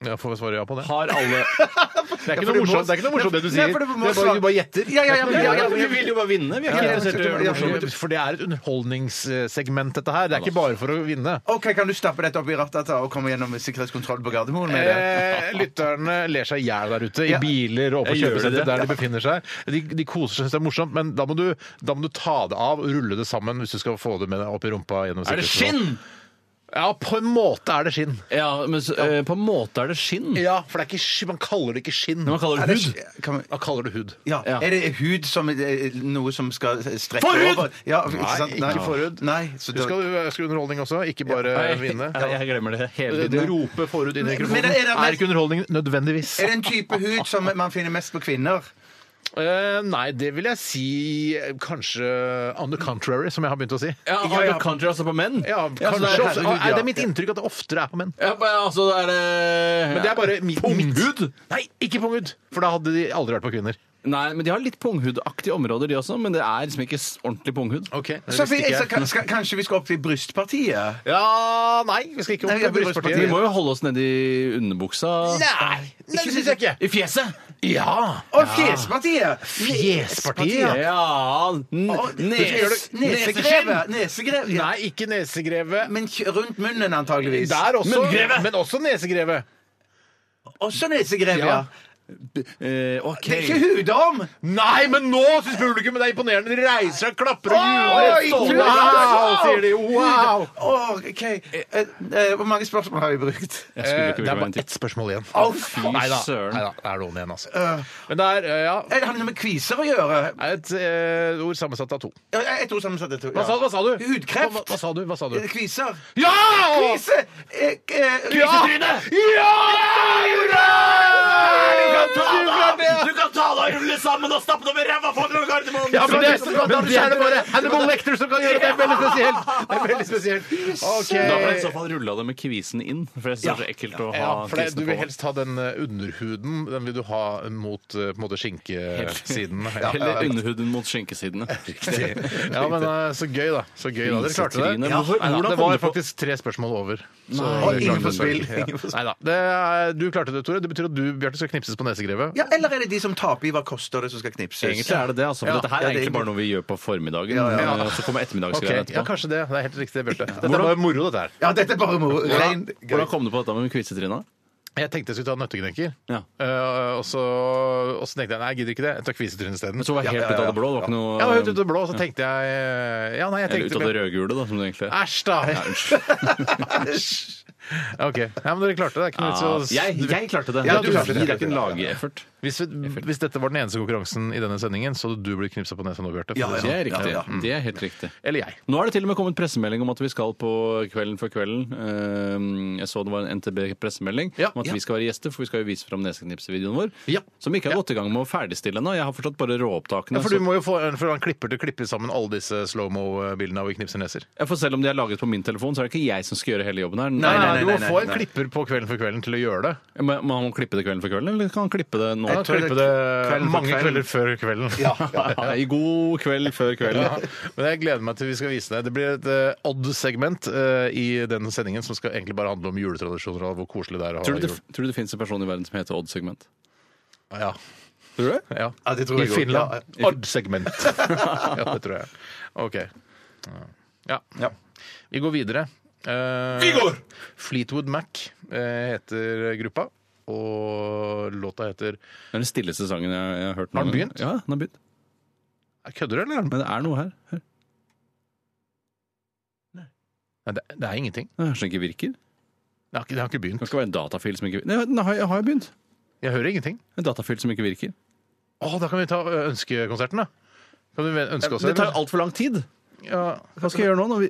Ja, får vi svare ja på det?
Har alle Det er ikke noe morsomt det, er ikke noe morsomt, det du sier.
Nei, for du, må
Det er bare-
svare- bare gjetter.
Ja, ja, ja, men- ja, ja, men Vi vil jo bare vinne. Vi er ikke
Ja, ja,
interessert i å gjøre
ja,
det morsomt.
For det er et underholdningssegment, dette her. Det er ikke bare for å vinne.
OK, kan du stappe dette opp i rattet da, og komme gjennom sikkerhetskontrollen på Gardermoen med det?
Eh, lytterne ler seg i hjel der ute, i
Ja.
biler og på
Jeg gjør
kjøpesenter
det.
der de befinner seg. De, de koser seg, synes det er morsomt, men da må, du, da må du ta det av og rulle det sammen hvis du skal få det med deg opp i rumpa. gjennom
Er det
sikkerhetskontrollen.
skinn?
Ja, på en måte er det skinn.
Ja, men så, eh, på en måte er det skinn.
Ja, for det er ikke, sk- man kaller det ikke skinn.
Men man kaller
Er
det
det
hud.
sk- kan vi-
Man kaller det hud.
Ja.
Ja.
Er det hud som er noe som skal strekke
Forhud!
over? Ja, ikke sant?
Nei, ikke forhud.
Nei, så
Du
da-
skal ønske underholdning også, ikke bare
Nei,
vinne.
Jeg, jeg glemmer det hele
Du
tiden.
roper forhud inn i
Men-
mikrofonen.
men er det- men-
Er ikke underholdning nødvendigvis?
Er det en type hud som man finner mest på kvinner?
Eh, nei, det vil jeg si eh, kanskje on the contrary, som jeg har begynt å si.
Ja, ja, ja. Country, altså på menn?
Ja,
så
kanskje
det er- sånn-
også.
herregud,
Er
ja.
det mitt inntrykk at det oftere er på menn?
Ja, men altså, det er det
Men det er bare mitt,
Punghud?
mitt- Nei, ikke punghud! For da hadde de aldri vært på kvinner.
Nei, men de har litt punghudaktige områder, de også, men det er liksom ikke s- ordentlig punghud.
Ok, det
Så
visste
vi,
ikke
så,
jeg.
kan- skal, kanskje vi skal opp til brystpartiet?
Ja, nei, vi skal ikke
Nei,
opp
jeg
på
blir
Vi
brystpartiet.
må jo holde oss nedi underbuksa.
Nei, nei, det syns jeg ikke.
I fjeset!
Ja!
Å, fjespartiet!
Fjespartiet.
Ja! n-
Å,
Nes...
nes- Nesegrevet! Nesegrev. ja.
Nei, ikke nesegreve.
Men k- rundt munnen, antageligvis.
Der også,
Munngreve.
men også nesegreve.
Også nesegrev, ja.
Ja.
Eh, OK.
Det er ikke hudorm!
Nei, men nå syns publikum det er imponerende! De reiser seg, klapper og
Oi,
jubler.
du-
Wow, sier de. Wow!
Å, OK. Eh, eh, Hvor mange spørsmål har vi brukt?
Jeg
Eh, Det
skulle ikke
er
bruke
bare
meg en
ett spørsmål igjen.
Å, fy.
Fy
Nei da,
søren.
det er noen igjen, altså. Men det er, eh, ja,
Eh, Det handler med kviser å gjøre. eh,
er et eh, ord sammensatt av to.
Ja, Jeg tror sammensatt dette.
Hva sa, hva sa du?
Hudkreft.
Hva, hva sa du? Hva sa du?
Eh, Kviser.
Ja!
Kvise! Eh, eh,
Ja! Ja! Hurra!
Du kan ta deg og rulle sammen og stappe det med ræva foran Gardermoen!
Ja, men det, men det er det bare Hannibal Lecter som kan gjøre. Det er veldig spesielt. Det er veldig spesielt.
Da får jeg i
Ok.
så fall rulla det med kvisen inn, for jeg synes det er så ekkelt å ha
Ja, for det, du
kvisen
vil
på.
helst ha den eh, underhuden. Den vil du ha mot eh, på en måte skinkesidene. Ja, ja,
Heller underhuden mot skjenkesidene.
riktig. ja, men eh, så gøy, da. Så gøy da. Dere klarte det.
Grisetryne.
Ja,
Hvorfor-
nei da,
hvordan
det
kom
var
du på-
faktisk tre spørsmål over. Så
Og
dere
ingen
klarte
på
det.
spill.
Ja.
Ingen på spill.
Nei da. Det er- Du klarte det, Tore. Det betyr at du, Bjarte, skal knipses på nesegrevet.
Ja, eller er det de som taper i hva koster det som skal knipses?
Egentlig er det det, altså. For
Ja,
dette her
ja,
er
det er
egentlig bare
egentlig-
noe vi gjør på formiddagen.
ja,
og Så kommer
Ok,
ettermiddagsgreiene
ja,
etterpå.
kanskje det. Det er helt riktig, Bjarte. Dette var moro, dette her.
Ja, dette er bare moro. Rein
Hvordan kom du på dette med kvisetryna?
Jeg tenkte jeg skulle ta nøtteknekker,
Ja.
Eh, og, så, og så tenkte jeg nei, jeg gidder ikke det. Jeg tar kvisetryn isteden.
Men så var jeg helt ut av det blå. Det var ikke noe
Jeg var helt ute av det blå, og så tenkte jeg eh, Ja, nei, jeg
Eller ut av det
tenkte
rødgule, da, som det egentlig er.
Æsj, da! OK. Ja, men dere klarte det. Det er ikke noe vits i
Ja,
å
jeg, jeg klarte det.
Ja,
du
du klarte det.
gir deg ikke en lage-effort.
Hvis, hvis dette var den eneste konkurransen i denne sendingen, så hadde du blitt knipsa på nesa nå, Bjarte. for
Ja,
å si
Det
det
er riktig.
Ja, ja.
Det er helt riktig.
sånn. Eller jeg.
Nå er det til og med kommet pressemelding om at vi skal på Kvelden før kvelden. Eh, Jeg så det var en NTB-pressemelding
Ja.
om at
Ja.
vi skal være gjester, for vi skal jo vise fram Nesknipsevideoen vår.
Ja.
Som ikke har gått i gang med å ferdigstille ennå. Jeg har fortsatt bare råopptakene.
Ja, for du
så-
må jo få for han klipper til å klippe sammen alle disse slow-mo-bildene av vi knipser neser.
Ja, for selv om de er laget på min telefon, så er det ikke jeg som skal gjøre hele jobben her.
Nei, nei, nei,
du
nei,
må
nei,
få en
nei.
klipper på Kvelden for kvelden til å gjøre det.
Ja, Men Må han klippe det Kvelden før kvelden, eller kan han klippe det nå?
Og
tror det
klippe
er
det
Kvelden for
mange
Kvelden.
kvelder før kvelden.
Ja, I god kveld før kvelden.
Ja, men jeg gleder meg til vi skal vise det. Det blir et eh, odd-segment eh, i denne sendingen som skal egentlig bare handle om juletradisjoner og hvor koselig det er å ha
Tror du, det,
jul.
tror du det finnes en person i verden som heter Odd-segment?
Ja.
Tror du det?
Ja.
Ja, det
I
tror jeg også.
Finland. Odd-segment. ja, det tror jeg. OK. Ja.
Ja.
Vi går videre. vi går! Fleetwood Mac eh, heter gruppa, og låta heter
Det er den stilleste sangen jeg, jeg har hørt.
Har den
noen gang.
begynt?
Ja, den har begynt.
Kødder du, eller?
Men det er noe her. Hør.
Nei, det, det er ingenting.
Den kanskje den ikke virker?
Det har, ikke- det har ikke
Det kan
begynt.
ikke være en datafil som ikke Nei, den har, jeg- har jeg begynt?
Jeg hører ingenting.
En datafil som ikke virker.
Å, da kan vi ta ø, ønskekonserten, da. Kan du ønske oss
Det tar
eller?
altfor lang tid.
Ja.
Hva skal jeg gjøre nå? Når vi...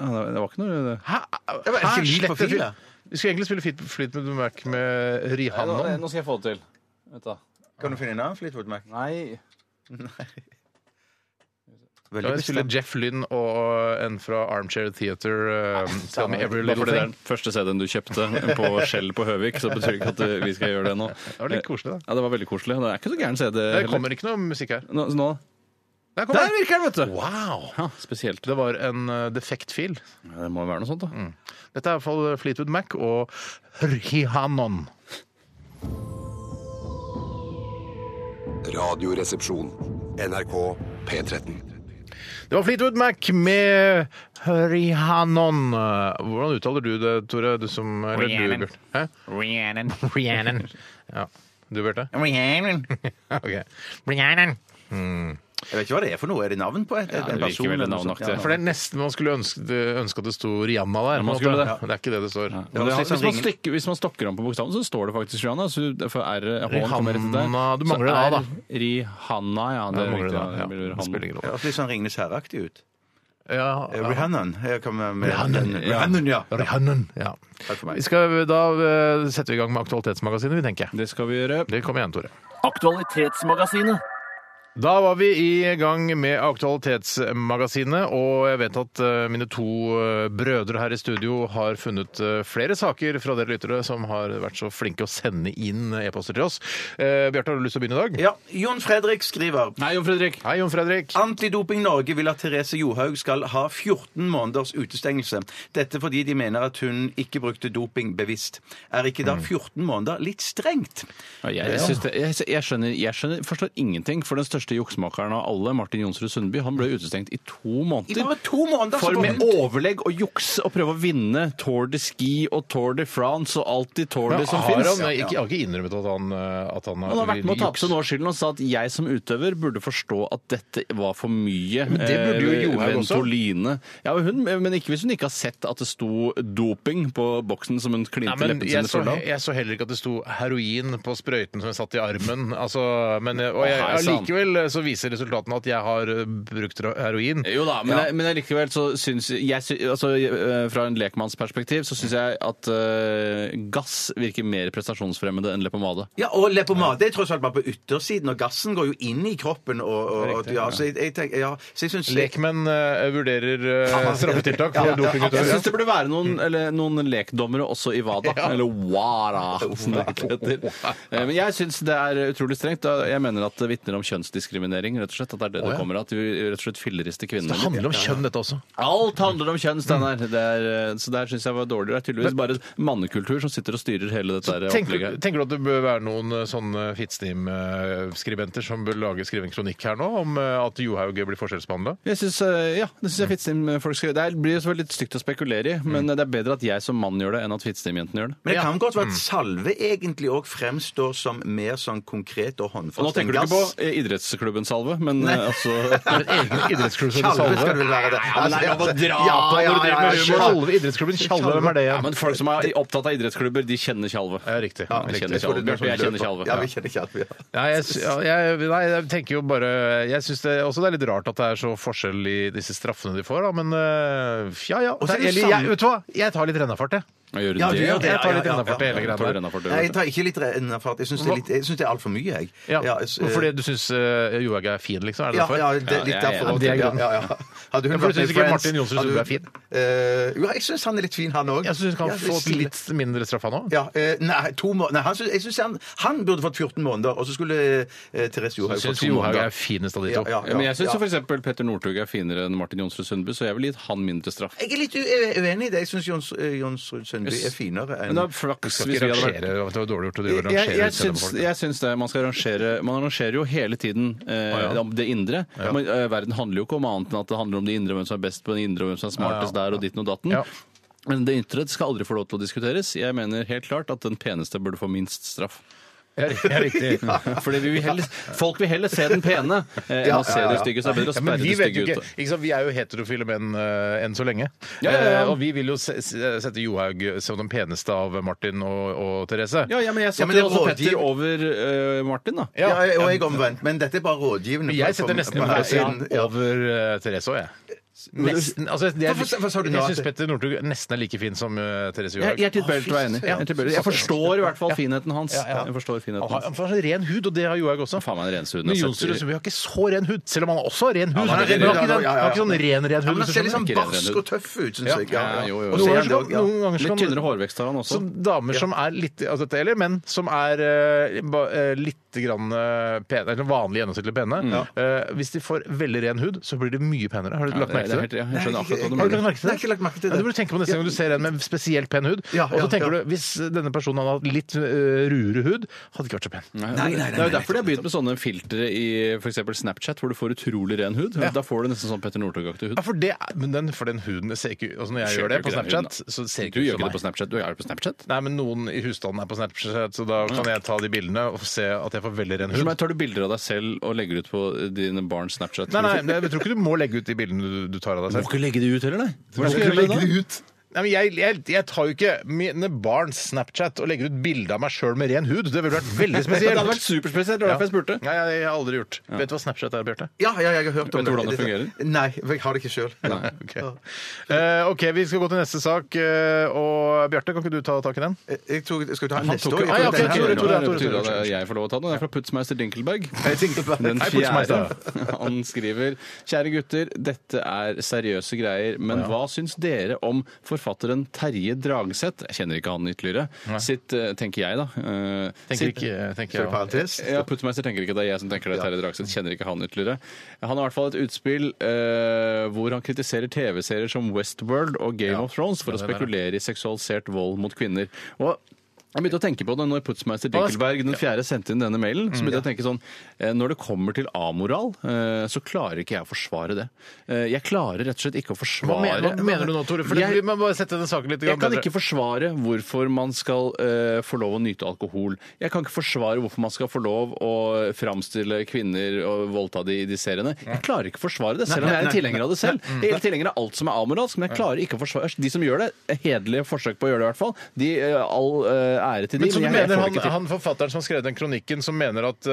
Ja, det- det var ikke noe det-
Hæ?
men er det ikke lyd på
Slett det
fil,
fil?
da?
Vi skulle egentlig spille Fleet- Fleetwood Mac med Rihanna.
skal jeg få det til. Vet du.
Kan du finne en annen Fleetwood Mac?
Nei.
Ja, vi spiller Jeff Lynn og en fra Armchair Theater. Um, Tell me every
Bare
little
fordi Ah, det er
thing.
den første CD-en du kjøpte på Skjell på Høvik, så betyr det ikke at uh, vi skal gjøre det nå.
Det var litt koselig, da.
Ja, det var veldig koselig. Det er ikke så gæren CD.
Det
heller.
kommer ikke noe musikk her.
Nå, så nå
Der kom
Der
den!
virker den, vet du!
Wow!
Ja, spesielt.
Det var en eh, defekt fil.
Ja, det må jo være noe sånt, da.
Dette er i hvert fall uh, Fleetwood Mac og Rihanon.
Radioresepsjon. NRK P13.
Det var Fleetwood Mac med Rihanon. Hvordan uttaler du det, Tore? Du som uh, eller du,
Rhiannon.
Bjørn? Hæ?
Rhiannon.
Rhiannon. Ja. Du, Bjarte?
Rhiannon.
Ok.
Rhiannon.
Jeg vet ikke hva det er for noe. Er det navn på et, et,
det
en
virker
person?
veldig
eller noe sånt?
navnaktig.
Ja,
For det er nesten man skulle ønske, ønske at det sto Rihanna der.
Ja,
på
man
en
skulle
måte.
det.
Men altså, det er ikke det det står.
Ja, det,
var
altså,
litt
hvis man,
sånn ringing.
stokker, hvis man stokker om på bokstaven, så står det faktisk Rihanna. Så det- for R, H-en kommer rett til deg.
Rihanna, du
Så
mangler en A, da.
R, Rihanna, ja. Det
Ja,
er
det mangler
riktig.
det,
ja,
ja.
det blir
Det spiller
Rihanna.
ingen
Det
rolle.
høres litt sånn Ringnes herreaktig ut.
Ja,
Eh,
ja.
Rihannan. Jeg kommer med
Rihannan,
den-
ja.
Rihannan, ja.
Rihannon, ja.
Takk for meg.
Vi skal, da eh, setter vi i gang med Aktualitetsmagasinet, vi, tenker jeg.
Det skal vi gjøre.
Det kommer igjen, Tore.
Aktualitetsmagasinet.
Da var vi i gang med Aktualitetsmagasinet, og jeg vet at eh, mine to eh, brødre her i studio har funnet eh, flere saker fra dere lyttere som har vært så flinke å sende inn e-poster til oss. Eh, Bjarte, har du lyst til å begynne i dag?
Ja, Jon Fredrik skriver
Nei, Jon Fredrik.
Hei, Jon Fredrik.
Antidoping Norge vil at Therese Johaug skal ha 14 måneders utestengelse. Dette fordi de mener at hun ikke brukte doping bevisst. Er ikke
Mm.
da 14 måneder litt strengt?
Ja, jeg, jeg, synes det, jeg, jeg, skjønner, jeg skjønner, forstår ingenting, for den største juksemakeren av alle, Martin Jonsrud Sundby, han ble utestengt i to
I
måneder.
bare to måneder så
For
får
med
hun-
overlegg og juks og prøve å vinne Tour de Ski og Tour de France og alt de Tour
Ja,
de som
har han,
fins.
eh, ikke, har ikke innrømmet at han, eh, at han
Han har vært med å ta på
juks.
seg nåskylden og sa at jeg som utøver burde forstå at dette var for mye.
Men det burde jo
eh,
Johaug også.
Ventoline. Ja, men hun, men ikke hvis hun ikke har sett at det sto doping på boksen som hun
Nei,
klinte
men
leppene
jeg
sine
så,
fulle av.
jeg så heller ikke at det sto heroin på sprøyten som jeg satt i armen. Altså, men, og jeg,
Å, hei, sann.
likevel så viser resultatene at jeg har eh, brukt heroin.
Jo da, men, jeg, men jeg likevel så syns jeg, sy- altså, eh, Fra en lekmannsperspektiv så syns jeg at eh, gass virker mer prestasjonsfremmende enn leppepomade.
Ja, og leppepomade er tross alt bare på yttersiden, og gassen går jo inn i kroppen. Og, og, og, ja, så jeg, jeg tenker, ja, så jeg synes
Lekmenn eh, vurderer eh, straffetiltak for
Ja, ja,
Jeg
dopingutøvere.
syns det burde være noen, eller, noen lekdommere også i WADA. Eller WARA, som det heter. Eh, Men jeg syns det er utrolig strengt. da. Jeg mener at det vitner om kjønnsdiskriminering, rett og slett. At det er det det kommer av. At vi rett og slett fillerister kvinner.
Det handler om kjønn, dette også.
Alt handler om kjønn, Steinar. Det er, eh, Så der syns jeg var dårlig. Det er tydeligvis bare mannekultur som sitter og styrer hele dette her
Tenker,
opplegget.
tenker du at det bør være noen eh, sånne Fittstim-skribenter som bør lage skrive en kronikk her nå om eh, at Johaug blir forskjellsbehandla?
Jeg synes, eh, ja, det synes jeg Fittstim-folk skal gjøre. Det blir jo selvfølgelig litt stygt å spekulere i, men eh, det er bedre at jeg som mann gjør det, enn at Fittstim-jentene gjør det.
Men det kan godt være
Mm.
at salve egentlig òg fremstår som mer sånn konkret og håndfast
Og nå tenker du
enn
ikke på eh, idrettsklubben Salve, men eh, altså
Egen idrettsklubb som
Salve skal
Salve?
det vel være det. altså-
men det er lov å dra når du driver med humor, da.
Tjalve idrettsklubben Tjalve, hvem er det
Ja,
igjen?
men folk som er opptatt av idrettsklubber, de kjenner Tjalve.
Ja, riktig.
jeg
riktig.
kjenner Tjalve. Bjarte, jeg kjenner Tjalve.
Ja, vi kjenner Tjalve. Ja.
Ja, jeg, sy- ja, jeg, nei, jeg tenker jo bare Jeg syns det, også det er litt rart at det er så forskjell i disse straffene de får, da, men øh, ja ja.
så er det
Eller,
samme-
jeg, vet du hva, jeg tar litt rennafart, jeg.
Ja, gjør
Ja,
du
du gjør
det?
det.
Jeg tar litt
ja, ja,
rennafart i
ja.
hele
Ja, tar
greia der.
Rennafart,
Nei,
gjør
jeg
du det.
tar ikke litt rennafart. Jeg syns det er, litt- jeg synes det er altfor mye, jeg.
Ja.
jeg s-
Fordi du syns øh, Johaug er fin, liksom? Er det
ja,
derfor?
ja, det er
Ja, ja,
litt
ja,
derfor. også.
det er grunnen.
ja, ja. Hadde
Ja,
hun
for du synes
vært med i
ikke
Friends
Martin Johnsrud
hadde
Sundby er
hun-
fin?
Eh, jo, jeg syns han er litt fin, han òg.
Jeg syns han kan få litt mindre straff, han òg.
ja, eh, nei, to må nei, han, synes, jeg synes han, han burde fått 14 måneder, og så skulle eh, Therese Johaug
Jeg
fått
syns
to
Johaug
måneder.
er finest av de to.
Ja,
Ja, men jeg syns
ja.
f.eks. Petter Northug er finere enn Martin Jonsrud Sundby, så jeg ville gitt han mindre straff.
Jeg er litt u- uenig i det. Jeg syns Jons, eh, Jonsrud Sundby er finere enn
Men det er flaks
Skal
hvis
ikke
vi hadde vært
rangere, det var dårlig gjort å drive og
jeg,
rangere
jeg,
ut selv om
syns,
folk.
jeg syns det. Man skal rangere Man rangerer jo hele tiden eh,
Å, ja.
om det indre. Men eh, verden handler jo ikke om annet enn at det handler om det indre, hvem som er best på det indre, og hvem som er smartest der, og ditten og datten.
Ja.
Men det ytre skal aldri få lov til å diskuteres. Jeg mener helt klart at den peneste burde få minst straff.
Ja, riktig, ja, riktig.
Fordi vi vil heller, folk vil heller se den pene eh, enn å se det stygge. Så det er bedre å
Ja, men
sperre
vi
det
vet jo
stygge
ikke,
ute.
ikke sant? Vi er jo heterofile menn eh, enn så lenge.
Ja, ja, ja.
Eh, og vi vil jo se, se, sette Johaug som den peneste av Martin og, og Therese.
Ja, ja, men jeg
Ja,
satte
men det
jo også
rådgiv-
Petter over eh, Martin, da.
ja, og jeg omvendt, men dette er bare rådgivende.
Jeg setter nesten
på
Petter
siden. Ja.
over eh, Therese òg, jeg. Nesten, altså, det er,
Hva- hva- hva sa du nå?
jeg syns Petter Northug nesten er like fin som eh, Therese
Jeg,
Johaug.
jeg er tilbøyelig til å være enig. Jeg, er tilbøyelig. jeg forstår i hvert fall finheten hans.
Ja, ja.
Jeg forstår finheten
Han har-
hans.
han har så ren hud, og det har Johaug også.
Faen meg en rensehud.
Men Jonsrud Sundby har ikke så ren hud, selv om han også har ren hud.
han har
Men
ren
han
hud,
har ikke,
altså, ja,
den,
ja, ja.
han har ikke sånn ren, ren hud.
Han
hvis du
ser
skjønner.
litt sånn
ikke redd,
barsk
redd.
og tøff ut, syns jeg.
ja, jo, jo.
Og
Og noen
ser
ganger,
han det
så kan,
også,
noen
ja.
ganger så
Litt
kan
tynnere hårvekst har han også.
Som damer som er litt altså dette, eller menn som er eh, ba, eh, litt litt grann, eh, pen, eller vanlig gjennomsnittlig pene.
Mm.
Eh, hvis de får veldig ren hud, så blir det mye penere. Har du lagt merke til
helt-
det?
ja, jeg skjønner akkurat hva du
Har du
mener.
lagt merke til det?
Nei, jeg har ikke lagt merke til det.
Ja, du burde tenke på det neste gang du ser en med spesielt pen hud.
Ja,
og
ja,
så tenker
ja.
du hvis denne personen hadde hatt litt eh, ruere hud, hadde ikke vært så pen.
nei,
det er
nei,
jo
nei,
derfor de har begynt med sånne filtre i f.eks. Snapchat, hvor du får utrolig ren hud. Da får du nesten sånn Petter Northug-aktig hud.
Ja, for, det, er- men den, for den huden ser ikke altså Når jeg
Ser
gjør det
jo
på
ikke den
Snapchat,
huden, da.
så ser
Du
ikke ut
gjør
som
ikke det
meg.
på Snapchat. Du er jo på Snapchat.
Nei, men noen i husstanden er på Snapchat, så da kan jeg ta de bildene og se at jeg får veldig ren
For
hud.
meg tar du bilder av deg selv og legger ut på eh, dine barns Snapchat?
Nei, nei, men jeg tror ikke du må legge ut de bildene du, du tar av deg
Du
selv.
må ikke legge det ut heller, nei.
Hvordan skal jeg gjøre det da?
ut?
Nei, men jeg, jeg, jeg tar jo ikke mine barns Snapchat og legger ut bilde av meg sjøl med ren hud. Det ville vært veldig
Det
spesielt.
hadde vært superspesielt, det var derfor jeg spurte.
Nei, jeg, jeg har aldri gjort. Vet du hva Snapchat er, Bjarte?
Ja, ja, jeg har hørt om
Vet du hvordan det fungerer?
Nei, for jeg har det ikke sjøl.
Ok. Eh, OK, vi skal gå til neste sak. eh, og Bjarte, kan ikke du ta tak i den?
Jeg tror, skal vi ta den neste
tok
år?
jo-
Jeg
Ah, ja,
tror
ok,
den her-
Tore, Tore,
Det betyr
Tore,
at
Tore.
jeg får lov å ta den. Det er fra Putzmeister Dinkelberg.
Dinkelberg.
Den
Hei,
fjerde.
Putzmeister.
Han skriver Kjære gutter, dette er seriøse greier, men hva syns dere om forfatteren Terje Dragseth Jeg kjenner ikke han ytterligere. Sitt, eh, tenker jeg, da. eh,
Tenker
sitt-
ikke, tenker
Sorry,
jeg. også.
parentes.
Ja, Puttmeister tenker ikke det. Det er jeg som tenker det. Terje Dragseth kjenner ikke han ytterligere. Han har i hvert fall et utspill eh, hvor han kritiserer TV-serier som Westworld og Game of Thrones for å spekulere i seksualisert vold mot kvinner. Og jeg begynte å tenke på det når Putzmeister Dinkelberg den fjerde sendte inn denne mailen.
Mm,
så begynte jeg å tenke sånn, eh, Når det kommer til amoral, eh, så klarer ikke jeg å forsvare det. Eh, Jeg klarer rett og slett ikke å forsvare
Hva mener, hva mener du nå, Tore? For det- Vi
Jeg-
må bare sette den saken litt
jeg kan
bedre.
ikke forsvare hvorfor man skal eh, få lov å nyte alkohol. Jeg kan ikke forsvare hvorfor man skal få lov å framstille kvinner og voldta de i de seriene. Jeg klarer ikke å forsvare det, selv om jeg er en tilhenger av det selv. Jeg er tilhenger av alt som er amoralsk, men jeg klarer ikke å forsvare De som gjør det, hederlige forsøk på å gjøre det i hvert fall, de, eh, all eh, ære til
Men
de, men,
så du
jeg, jeg
mener
får det
han,
ikke til.
han forfatteren som har skrevet den kronikken, som mener at eh,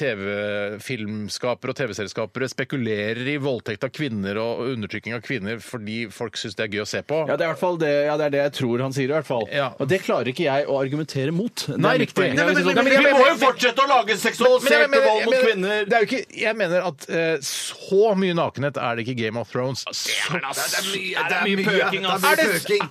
eh, TV-filmskapere og TV-selskapere spekulerer i voldtekt av kvinner og undertrykking av kvinner fordi folk syns det er gøy å se på?
Ja, det er i hvert fall det, ja, det er det jeg tror han sier, i hvert fall.
Ja.
Og det klarer ikke jeg å argumentere mot. Det er
Nei,
mitt
riktig.
poeng.
Nei, men-
Jeg vil si
men-
sånn,
men-
vi må jo
men-
fortsette å lage
Men jeg
seksualisert
mener-
vold mot
jeg mener-
kvinner!
Det er jo ikke, jeg mener at eh, så mye nakenhet er det ikke i Game of Thrones. Så,
Det er mye pøking, altså.
er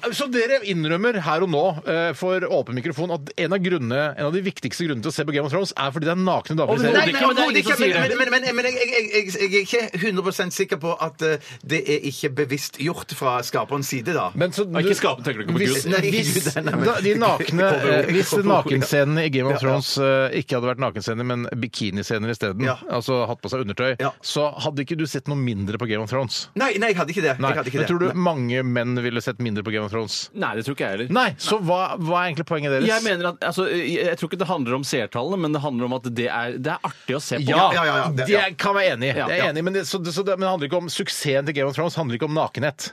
det, så dere innrømmer her og nå eh, for åpen mikrofon at en av, grunnene, en av de viktigste grunnene til å se på Game of Thrones er fordi det er nakne damer i
Overhodet
serien?
ikke,
Nei,
men det er ingen
overhodet
som sier
ikke, men-
det.
Men, men, men jeg, jeg, jeg, jeg er ikke 100 sikker på at eh, det er ikke bevisst gjort fra skaperens side, da.
Men så,
ikke skapen, tenker du ikke på
hvis,
Gud?
Nei,
hvis,
Gud, nei, nei, men-
da, de nakne,
Ikke på det ordet,
eh,
ikke
hvis
på det ordet.
nakenscenene i Game of Thrones eh, ikke hadde vært nakenscener, men bikiniscener isteden,
Ja.
altså hatt på seg undertøy,
Ja.
så hadde ikke du sett noe mindre på Game of Thrones.
Nei, nei, jeg hadde ikke det.
Nei,
Jeg hadde ikke
men
det.
tror du mange menn ville sett mindre på Game of Thrones?
Nei, det tror ikke jeg heller.
Nei, så hva, hva er egentlig poenget deres?
Jeg mener at, altså, jeg, jeg tror ikke det handler om seertallene, men det handler om at det er, det er artig å se på.
ja,
Ja, ja, ja,
det,
det- ja.
kan jeg være enig i.
Ja.
Jeg er enig, men, det, så, det- så det, men det handler ikke om suksessen til Game of Thrones handler ikke om nakenhet.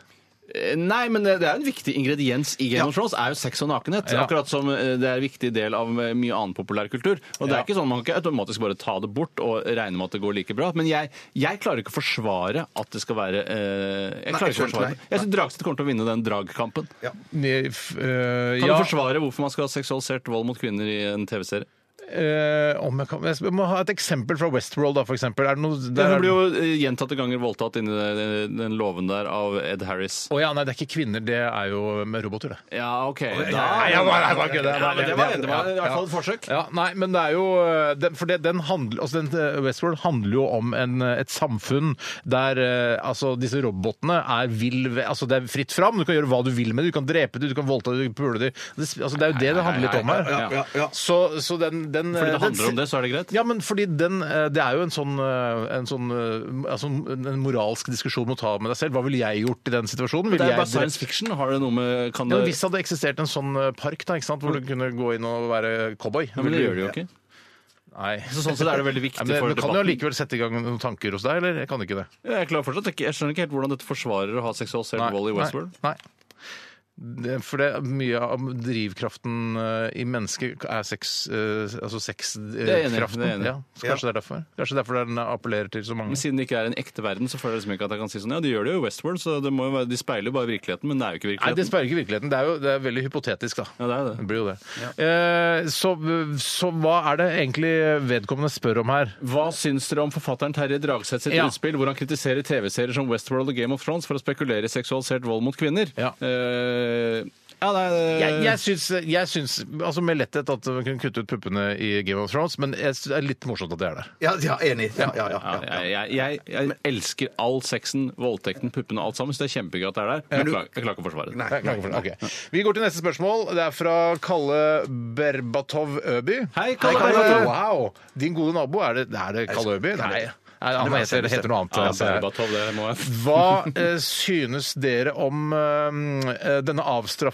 Eh, Nei, men det det er en viktig ingrediens i Game of Thrones, er jo sex og nakenhet.
Ja.
Akkurat som eh, det er en viktig del av eh, mye annen populærkultur. Og det
Ja.
er ikke sånn, Man kan ikke automatisk bare ta det bort og regne med at det går like bra. Men jeg, jeg klarer ikke å forsvare at det skal være eh, Jeg klarer ikke å
skjønner,
forsvare
nei.
det. Jeg syns Dragstad kommer til å vinne den dragkampen.
Nei, f- øh,
Kan
ja,
du forsvare hvorfor man skal ha seksualisert vold mot kvinner i en TV-serie?
øh, om jeg, kan, jeg må ha et eksempel fra Westworld, da, for eksempel. Er det noe, der,
Hun
er-
blir jo eh, gjentatte ganger voldtatt inni den- den låven der av Ed Harris.
Å ja, nei, det er ikke kvinner, det er jo med roboter, det.
Ja, OK. Da,
Nei, jeg bare- jeg bare kødder.
Ah, Ja, men det var, det var i
Ja.
hvert fall et forsøk.
Ja, nei, men det er jo eh, den, For det, den handler, altså den, eh, Westworld handler jo om en, eh, et samfunn der eh, altså disse robotene er vill ve- Altså det er fritt fram, du kan gjøre hva du vil med det. Du kan drepe det, du kan voldta det, du kan pule det. Det, sp- altså, det er jo det det handler litt om her.
ja, ja, ja.
Så, så den, den
Fordi
eh,
det handler om det, så er det greit.
ja, men fordi den, eh, Det er jo en sånn, eh, en sånn eh, altså en moralsk diskusjon du må ta med deg selv. Hva ville jeg gjort i den situasjonen?
Det
Ville
er
jeg
bare science fiction. Har det noe med kan
ja,
det,
men Hvis det hadde eksistert en sånn eh, park da, ikke sant? hvor du kunne gå inn og være cowboy
ja, men det gjør det jo ikke.
Nei.
Så sånn sett er det veldig viktig
Nei, men,
for
men kan jo
debatten.
allikevel sette i gang noen tanker hos deg, eller? Jeg kan ikke det.
Jeg, klarer fortsatt ikke, jeg skjønner ikke helt hvordan dette forsvarer å ha seksualisert vold i Westworld.
Nei. Det, for det er mye av drivkraften eh, i mennesket er sex, eh, altså
Det er jeg enig i,
sexkraften.
det er jeg enig i.
ja, så kanskje det er derfor Kanskje derfor den appellerer til så mange.
Men siden det ikke er en ekte verden, så føler jeg liksom ikke at jeg kan si sånn Ja, de gjør det jo i Westworld, så det må jo være, de speiler jo bare virkeligheten, men det er jo ikke
Nei, det
virkeligheten.
sperrer ikke virkeligheten. Det er jo det er veldig hypotetisk, da.
Ja, det er det.
Det blir jo det. Eh, så, så hva er det egentlig vedkommende spør om her?
Hva syns dere om forfatteren Terje Dragseth sitt
Ja.
utspill hvor han kritiserer TV-serier som Westworld og Game of Thrones for å spekulere i seksualisert vold mot kvinner?
Ja.
Eh, Ja, nei, det-
Jeg, jeg, syns, jeg syns altså med letthet at man kunne kutte ut puppene i Game of Thrones, men jeg syns det er litt morsomt at det er der.
Ja, ja enig. Ja, ja, ja, ja.
jeg, jeg, jeg, jeg elsker all sexen, voldtekten, puppene, alt sammen. Så det er kjempegøy at det er der. Men jeg klarer jeg klarer ikke å forsvare det.
Jeg klager for det. Ok. Vi går til neste spørsmål. Det er fra Kalle Berbatov Øby.
Hei, Kalle Berbatov.
Wow! Din gode nabo, er det, er det Kalle Øby? Nei. Nei, han heter, heter noe annet.
Ja,
altså.
Berbatov, det må jeg.
Hva eh, synes dere om eh, denne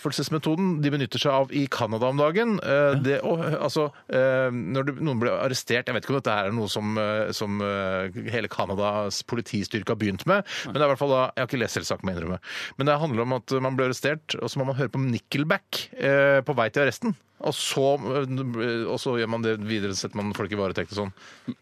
avstraffelsesmetoden de benytter seg av i Canada om dagen? Eh, det, og, eh, altså, eh, når du, noen blir arrestert Jeg vet ikke om dette her er noe som, eh, som eh, hele Canadas politistyrke har begynt med, men det er i hvert fall da Jeg har ikke lest hele saken, må jeg innrømme. Men det handler om at man blir arrestert, og så må man høre på Nickelback eh, på vei til arresten. Og så, eh, og så gjør man det videre, setter man folk i varetekt og sånn.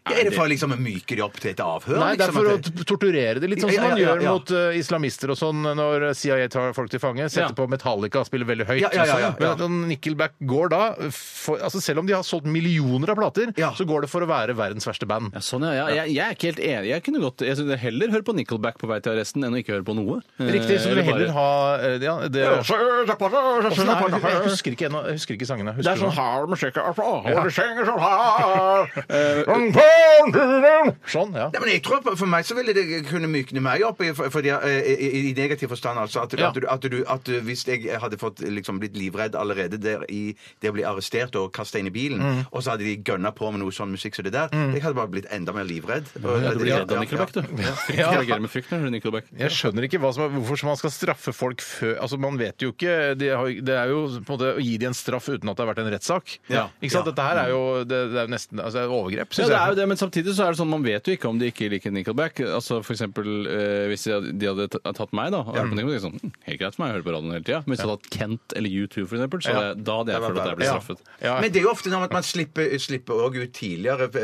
Er det for å liksom myke de opp til et avhør?
Nei, det er
liksom,
for å
at det-
t- torturere det litt, sånn som
Ja, ja,
man
ja,
gjør
ja.
mot eh, islamister og sånn, når CIA tar folk til fange, setter
Ja.
på Metallica og spiller veldig høyt.
Ja, ja, ja, ja,
og sånn. Men at Nickelback går da, for, altså selv om de har solgt millioner av plater,
Ja.
så går det for å være verdens verste band.
Ja, sånn, ja. Jeg, jeg, jeg er ikke helt enig. Jeg kunne godt jeg synes heller høre på Nickelback på vei til arresten enn å ikke høre på noe.
Riktig, så du vil heller ha eh, ja, det, Åssen er det? Jeg
Det
husker ikke, ennå- jeg husker ikke sangene.
er sånn hard musikk
Ja. Sånn, ja.
Nei, men jeg tror på- For meg så ville det kunne mykne meg opp, i, for, fordi, eh, i, i negativ forstand. altså, at, du-
Ja.
at, du, at, du, at du- Hvis jeg hadde fått liksom, blitt livredd allerede der i det å bli arrestert og kasta inn i bilen,
Mm.
og så hadde de gønna på med noe sånn musikk som det der, jeg hadde bare blitt enda mer livredd.
Ja, du blir redd av
Ja,
Nickelback, du.
ja.
Frykt reagerer med frykt når du hører Nickelback.
Jeg skjønner ikke hva som er, hvorfor man skal straffe folk før Altså, Man vet jo ikke Det, har, det er jo på en måte å gi dem en straff uten at det har vært en rettssak.
Ja.
Ikke sant?
Ja.
Dette her er jo det, det er jo nesten altså, det er jo overgrep,
Ja,
syns
det er jo
jeg.
det, men samtidig så er det sånn, man vet jo ikke om de ikke liker Nickelback. Altså for eksempel, eh, Hvis de hadde- de hadde ta- tatt meg, da og hørt på Nickelback, sånn, hm, Helt greit for meg å høre på radioen hele tida. Men hvis de hadde hatt Kent eller U2, for eksempel, så hadde, jeg- da hadde jeg
Det var
følt at jeg ble
bra.
straffet.
Ja.
Men det er jo ofte sånn at man slipper, slipper også ut tidligere eh,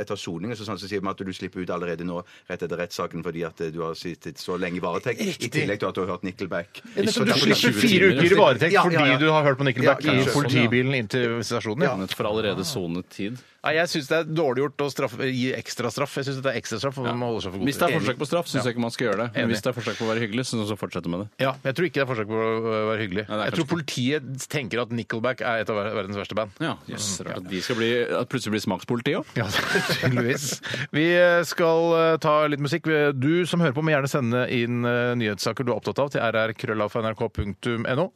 etter soningen. Så, sånn, så sier man at du slipper ut allerede nå rett etter rettssaken fordi at eh, du har sittet så lenge i varetekt. I tillegg til at du har hørt Nickelback.
Nettopp,
Så
du
derfor-
slipper
20
fire
timer.
uker i varetekt
Ja, ja, ja.
fordi du har hørt på Nickelback
Ja, ja,
i
sånn,
politibilen inn til stasjonen. Ja.
For allerede sonet tid.
Nei, jeg syns det er dårlig gjort å straffe, gi ekstra straff. Jeg syns det er ekstra straff, og man må holde seg for god
Hvis det er
til
forsøk på straff, syns jeg ikke man skal gjøre det. Men
Enig.
hvis det er forsøk på å være hyggelig, så så fortsette med det.
Ja, jeg tror ikke det er forsøk på å øh, være hyggelig.
Nei, det er
jeg tror
kanskje
politiet tenker at Nickelback er et av ver- verdens verste band.
Ja, jøss, rart at de skal bli, at plutselig blir smakspoliti òg.
Ja, tydeligvis. Vi eh, skal eh, ta litt musikk. Du som hører på, må gjerne sende inn eh, nyhetssaker du er opptatt av til rrkrøllafnrk.no.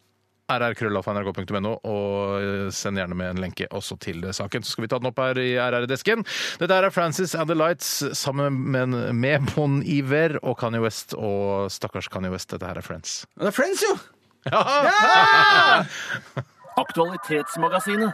rrkrøllafnrk.no, og eh, send gjerne med en lenke også til eh, saken. Så skal vi ta den opp her i RR-desken. Dette her er Francis and the Lights sammen med, med Bon Iver og Kanye West. Og stakkars Kanye West, dette her er Friends.
Det er Friends, jo!
Aktualitetsmagasinet.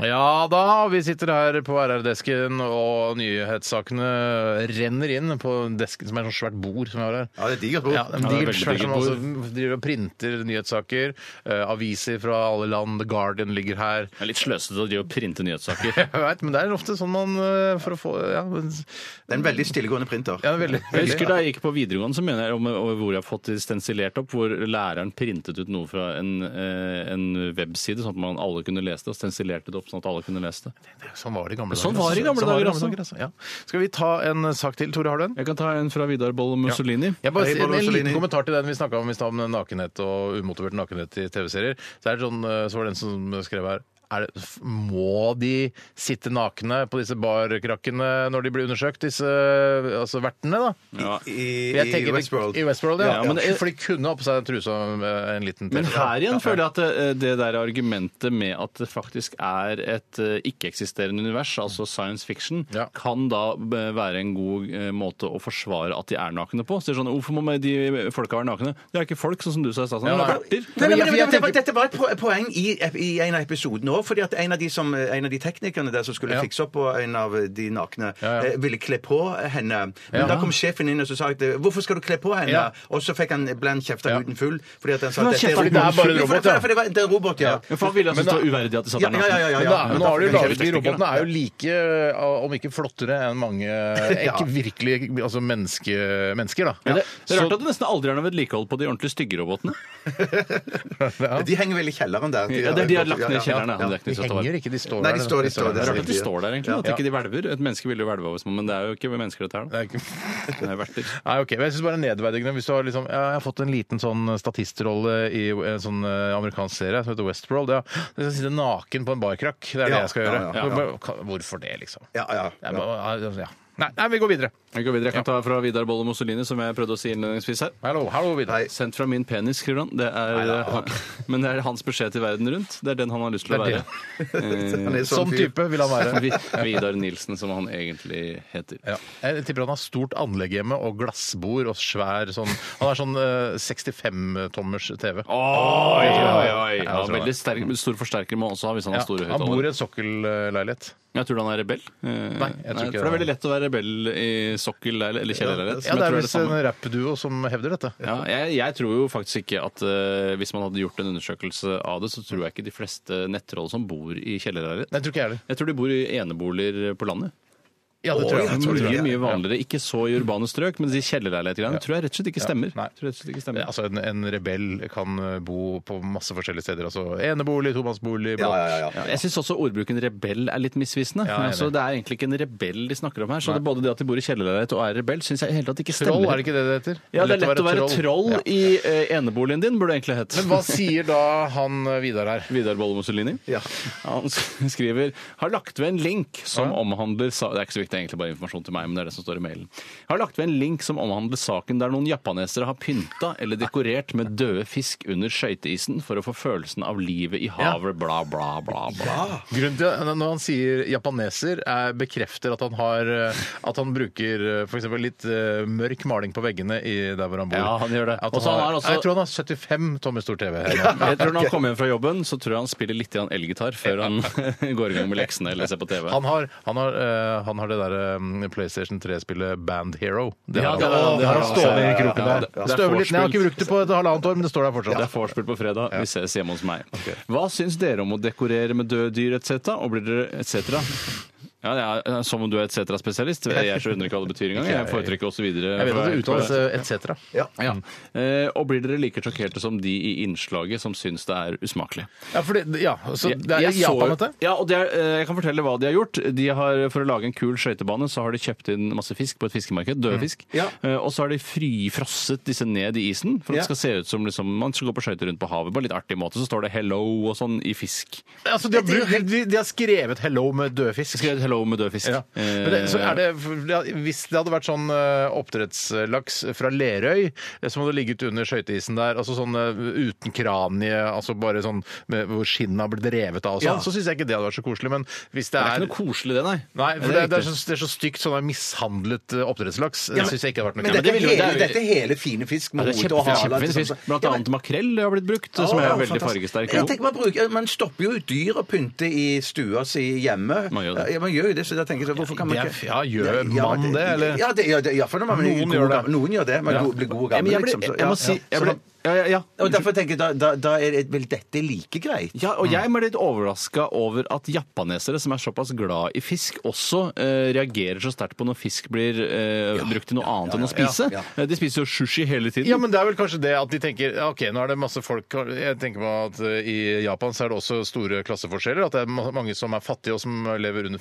Ja da, vi sitter her på RR-desken, og nyhetssakene renner inn på desken som er et sånt svært bord som vi har her.
Ja, det er digert bord.
Ja, men
det er
digert
veldig
svært som
digert
altså, driver og printer nyhetssaker. eh, aviser fra alle land. The Guardian ligger her.
Det er litt sløsete å drive og printe nyhetssaker.
Jeg vet, men det er ofte sånn man eh, for å få Ja, men-
Det er en veldig stillegående printer.
ja veldig.
Jeg
veldig
husker Da jeg gikk på videregående, så mener jeg om, om hvor jeg har fått det stensilert opp, hvor læreren printet ut noe fra en, eh, en webside, sånn at man alle kunne lese det, og stensilerte det opp sånn at alle kunne lese det.
Sånn var det i gamle dager.
Sånn var det i gamle
Sånn var det i
dager, altså.
altså. Ja. Skal vi ta en sak til? Tore, har du en?
Jeg kan ta en fra Vidar Boll Mussolini.
Jeg bare,
Hei,
en,
Bård
en liten
Mussolini.
kommentar til den vi snakka om i stad, om nakenhet og umotivert nakenhet i TV-serier. Så, er det sånn, eh, så var det en som skrev her er det, f- Må de sitte nakne på disse barkrakkene når de blir undersøkt, disse altså vertene, da?
Ja.
I,
Jeg
i
tenker det-
Westworld.
I Westworld, ja.
Ja, men det-
For de kunne ha på seg en truse og eh, en liten
Men
TV.
her igjen føler jeg at det, det der argumentet med at det faktisk er et eh, ikke-eksisterende univers, altså science fiction,
Ja.
kan da eh, være en god eh, måte å forsvare at de er nakne på. Så det er sånn, Hvorfor må man- de folka være nakne? Det er ikke folk, sånn som du sa i stad. Sånn.
Ja,
det er
nei.
verter.
Nei, nei,
Men
men,
jeg-
det-
jeg
det-
tenker-
dette var et po- poeng i, i en av episodene òg. fordi at en av, de som, en av de teknikerne der som skulle
Ja.
fikse opp på en av de nakne,
Ja, ja.
eh, ville kle på henne. Men
Ja.
da kom sjefen inn og så sa at, eh, 'Hvorfor skal du kle på henne?'
Ja.
Og så fikk han blant kjefta
Ja.
huden full. Fordi at han sa
Men
at dette
kjefta,
er
fordi det er bare en
Jo, for-
robot, ja.
for- for det var- Det er en robot, ja.
Ja, for han ville altså
Men da-
stå uverdig at de satt
Ja,
der
ja, ja, ja,
nakne.
ja,
Men,
ja.
da, men nå har du jo laget, de
Kjøreteknikker,
Robotene er jo like, eh, om ikke flottere enn mange eh, ikke virkelig, altså menneske, mennesker. da.
Men det, det er
Så-
rart at det nesten aldri er noe vedlikehold på de ordentlig stygge robotene.
De henger vel i kjelleren der.
Ja, det er de har lagt ned i kjelleren, ja. det er ikke
De
noe støtt å være.
henger ikke, de står
Nei, de står- de
der.
står
Det
der.
er rart
det
at de står der, egentlig. At ikke de hvelver. Et menneske ville jo hvelve av oss, men det er jo ikke mennesker dette her.
Det
da.
er ikke-
Det er verter.
Nei, ok, men jeg synes bare nedverdigende Hvis du har liksom, ja, jeg har fått en liten sånn statistrolle i en sånn eh, amerikansk serie som heter Westworld, ja, jeg skal sitte naken på en barkrakk, det er det
Ja,
jeg skal gjøre.
ja, ja, ja.
Bare, ka- Hvorfor det, liksom?
Ja, ja.
Jeg bare- ja. Nei, nei, vi går videre.
Jeg går videre. Jeg kan ta fra Vidar Bolle Mussolini, som jeg prøvde å si innledningsvis her.
Hallo, hallo, videre.
Hei.
Sendt fra min penis, skriver han. Det er, eh, Men det er hans beskjed til verden rundt. Det er den han har lyst til å
Det er
være. Eh,
Han er
Sånn
fyr.
type vil han være.
Vi- Vidar Nilsen, som han egentlig heter.
Ja. Jeg tipper han har stort anlegg hjemme og glassbord og svær sånn Han har sånn eh, 65-tommers TV.
Oi, oi, oi!
Ja,
Ja,
jeg tror
veldig sterk, stor forsterker må han også ha hvis han
Ja,
har store
han bor i
høyttalere.
en sokkelleilighet.
Jeg tror du han er rebell. Eh, Nei,
jeg tror ikke
For det er
det.
veldig lett å være rebell i sokkel eller eller kjellerleilighet.
Ja,
men
det
jeg
er
tror
visst
samme.
en rappduo som hevder dette.
Ja, jeg, jeg tror jo faktisk ikke at eh, hvis man hadde gjort en undersøkelse av det, så tror jeg ikke de fleste nettroll som bor i kjellerleilighet.
Nei, jeg tror ikke jeg heller.
Jeg tror de bor i eneboliger på landet.
Ja, det
Oi,
tror jeg.
jeg
tror det.
Mye, mye vanligere. Ikke så i urbane strøk, men de kjellerleilighetgreiene tror jeg rett og slett ikke stemmer.
Nei.
Tror jeg rett og slett ikke stemmer.
Altså, en, en rebell kan eh, bo på masse forskjellige steder. Altså enebolig, tomannsbolig,
Ja,
blokk.
ja, ja, ja.
Jeg syns også ordbruken rebell er litt misvisende.
Ja, jeg er
altså,
enig.
det er egentlig ikke en rebell de snakker om her. Så det, både det at de bor i kjellerleilighet og er rebell, syns jeg i hele tatt ikke stemmer.
Troll, er det ikke det det heter?
Ja, det er lett å være troll, i eh, eneboligen din, burde det egentlig hett.
Men hva sier da han eh, Vidar her?
Vidar Bolle Mussolini.
Ja.
Han skriver har lagt ved en link som omhandler sa- Det er ikke så viktig, det er egentlig bare informasjon til meg, men det er det som står i mailen. Har lagt ved en link som omhandler saken der noen japanesere har pynta eller dekorert med døde fisk under skøyteisen for å få følelsen av livet i havet, bla, bla, bla. bla.
Grunnen til at Når han sier japaneser, er, bekrefter at han, har, eh, at han bruker f.eks. litt eh, mørk maling på veggene i der hvor han bor.
Ja, han gjør det.
At
Og så han har
har,
også-
Jeg tror han har 75 tommer stor TV. her nå.
Jeg tror Når han kommer hjem fra jobben, så tror jeg han spiller litt grann elgitar før han går i gang med leksene eller ser på TV.
Han har, han har, eh, han har det der eh, PlayStation 3-spillet Band Hero. Det
Ja,
har
det har han,
han.
det har
Han har
han.
stående i kroken
Ja,
der.
det- det er
Støver litt ned. Jeg har ikke
vorspiel.
brukt det på et halvannet år, men det står der
Det
fortsatt.
er vorspiel på fredag. Vi ses hjemme hos meg. Hva syns dere om å dekorere med døde dyr etc.? Og blir dere etc.? Ja, det er som om du er etc.-spesialist. Jeg skjønner ikke hva det betyr engang. Jeg foretrekker også videre.
Jeg vet at det eh, uttales etc.
Ja.
Ja.
Mm.
Eh, Og blir dere like sjokkerte som de i innslaget som syns det er usmakelig?
Ja, fordi, ja, så
Jeg-
det er
jeg
i Japan,
så-
dette?
Ja, og det er, eh, jeg kan fortelle hva de har gjort. De har, For å lage en kul skøytebane så har de kjøpt inn masse fisk på et fiskemarked. Døde
Mm.
fisk.
Ja.
Eh, Og så har de frifrosset disse ned i isen for at det skal se ut som liksom, man skal gå på skøyter rundt på havet. På en litt artig måte så står det 'hello' og sånn i fisk.
Altså, de, har brukt, de, de har skrevet 'hello' med død fisk.
Jeg skrev 'hello' med død fisk.
Ja. Men det, så er det, hvis det hadde vært sånn eh, oppdrettslaks fra Lerøy eh, som hadde ligget under skøyteisen der, altså sånn eh, uten kranie, altså bare sånn med, hvor skinnet har blitt revet av og sånn,
Ja.
så syns jeg ikke det hadde vært så koselig. Men hvis det
det er
er,
ikke noe koselig, det, Eh, nei.
Nei, for det, er- det, er
riktig.
så, det er så stygt sånn der mishandlet eh, oppdrettslaks.
Ja,
det
men-
syns jeg ikke hadde vært
Men
noe
det
dette er
vil jo- det
hele,
er jo-
dette er hele fine fisk
Ja,
med
det er
hode og
kjempefin,
hale.
kjempefin
liksom.
fisk. Blant annet makrell har blitt brukt, som
Ja,
er
ja,
veldig
fantastisk.
fargesterk.
Jeg tenker man, bruker, man stopper jo ut dyr og pynter i stua si hjemme.
Man gjør det.
Ja, man gjør jo det, så da tenker jeg så hvorfor kan man
Det er-
ikke
ja, gjør
Ja,
man det, eller?
Ja, det, ja, det, ja for når man blir
Noen
god
gjør det.
gammel- Noen gjør det. Man
Ja.
blir god og
Ja, men
gammel,
jeg ble-
liksom. så-
Jeg må si
ja.
jeg
Så
ble,
da-
ja, ja, ja.
Og derfor tenker jeg da, da, da er det- vel dette like greit.
Ja,
Mm.
og jeg ble litt overraska over at japanesere, som er såpass glad i fisk, også eh, reagerer så sterkt på når fisk blir eh, brukt til noe annet enn å spise.
ja,
Eh, De spiser jo sushi hele tiden.
Ja, men det er vel kanskje det at de tenker ja, OK, nå er det masse folk Jeg tenker på at eh, i Japan så er det også store klasseforskjeller. At det er ma- mange som er fattige og som lever under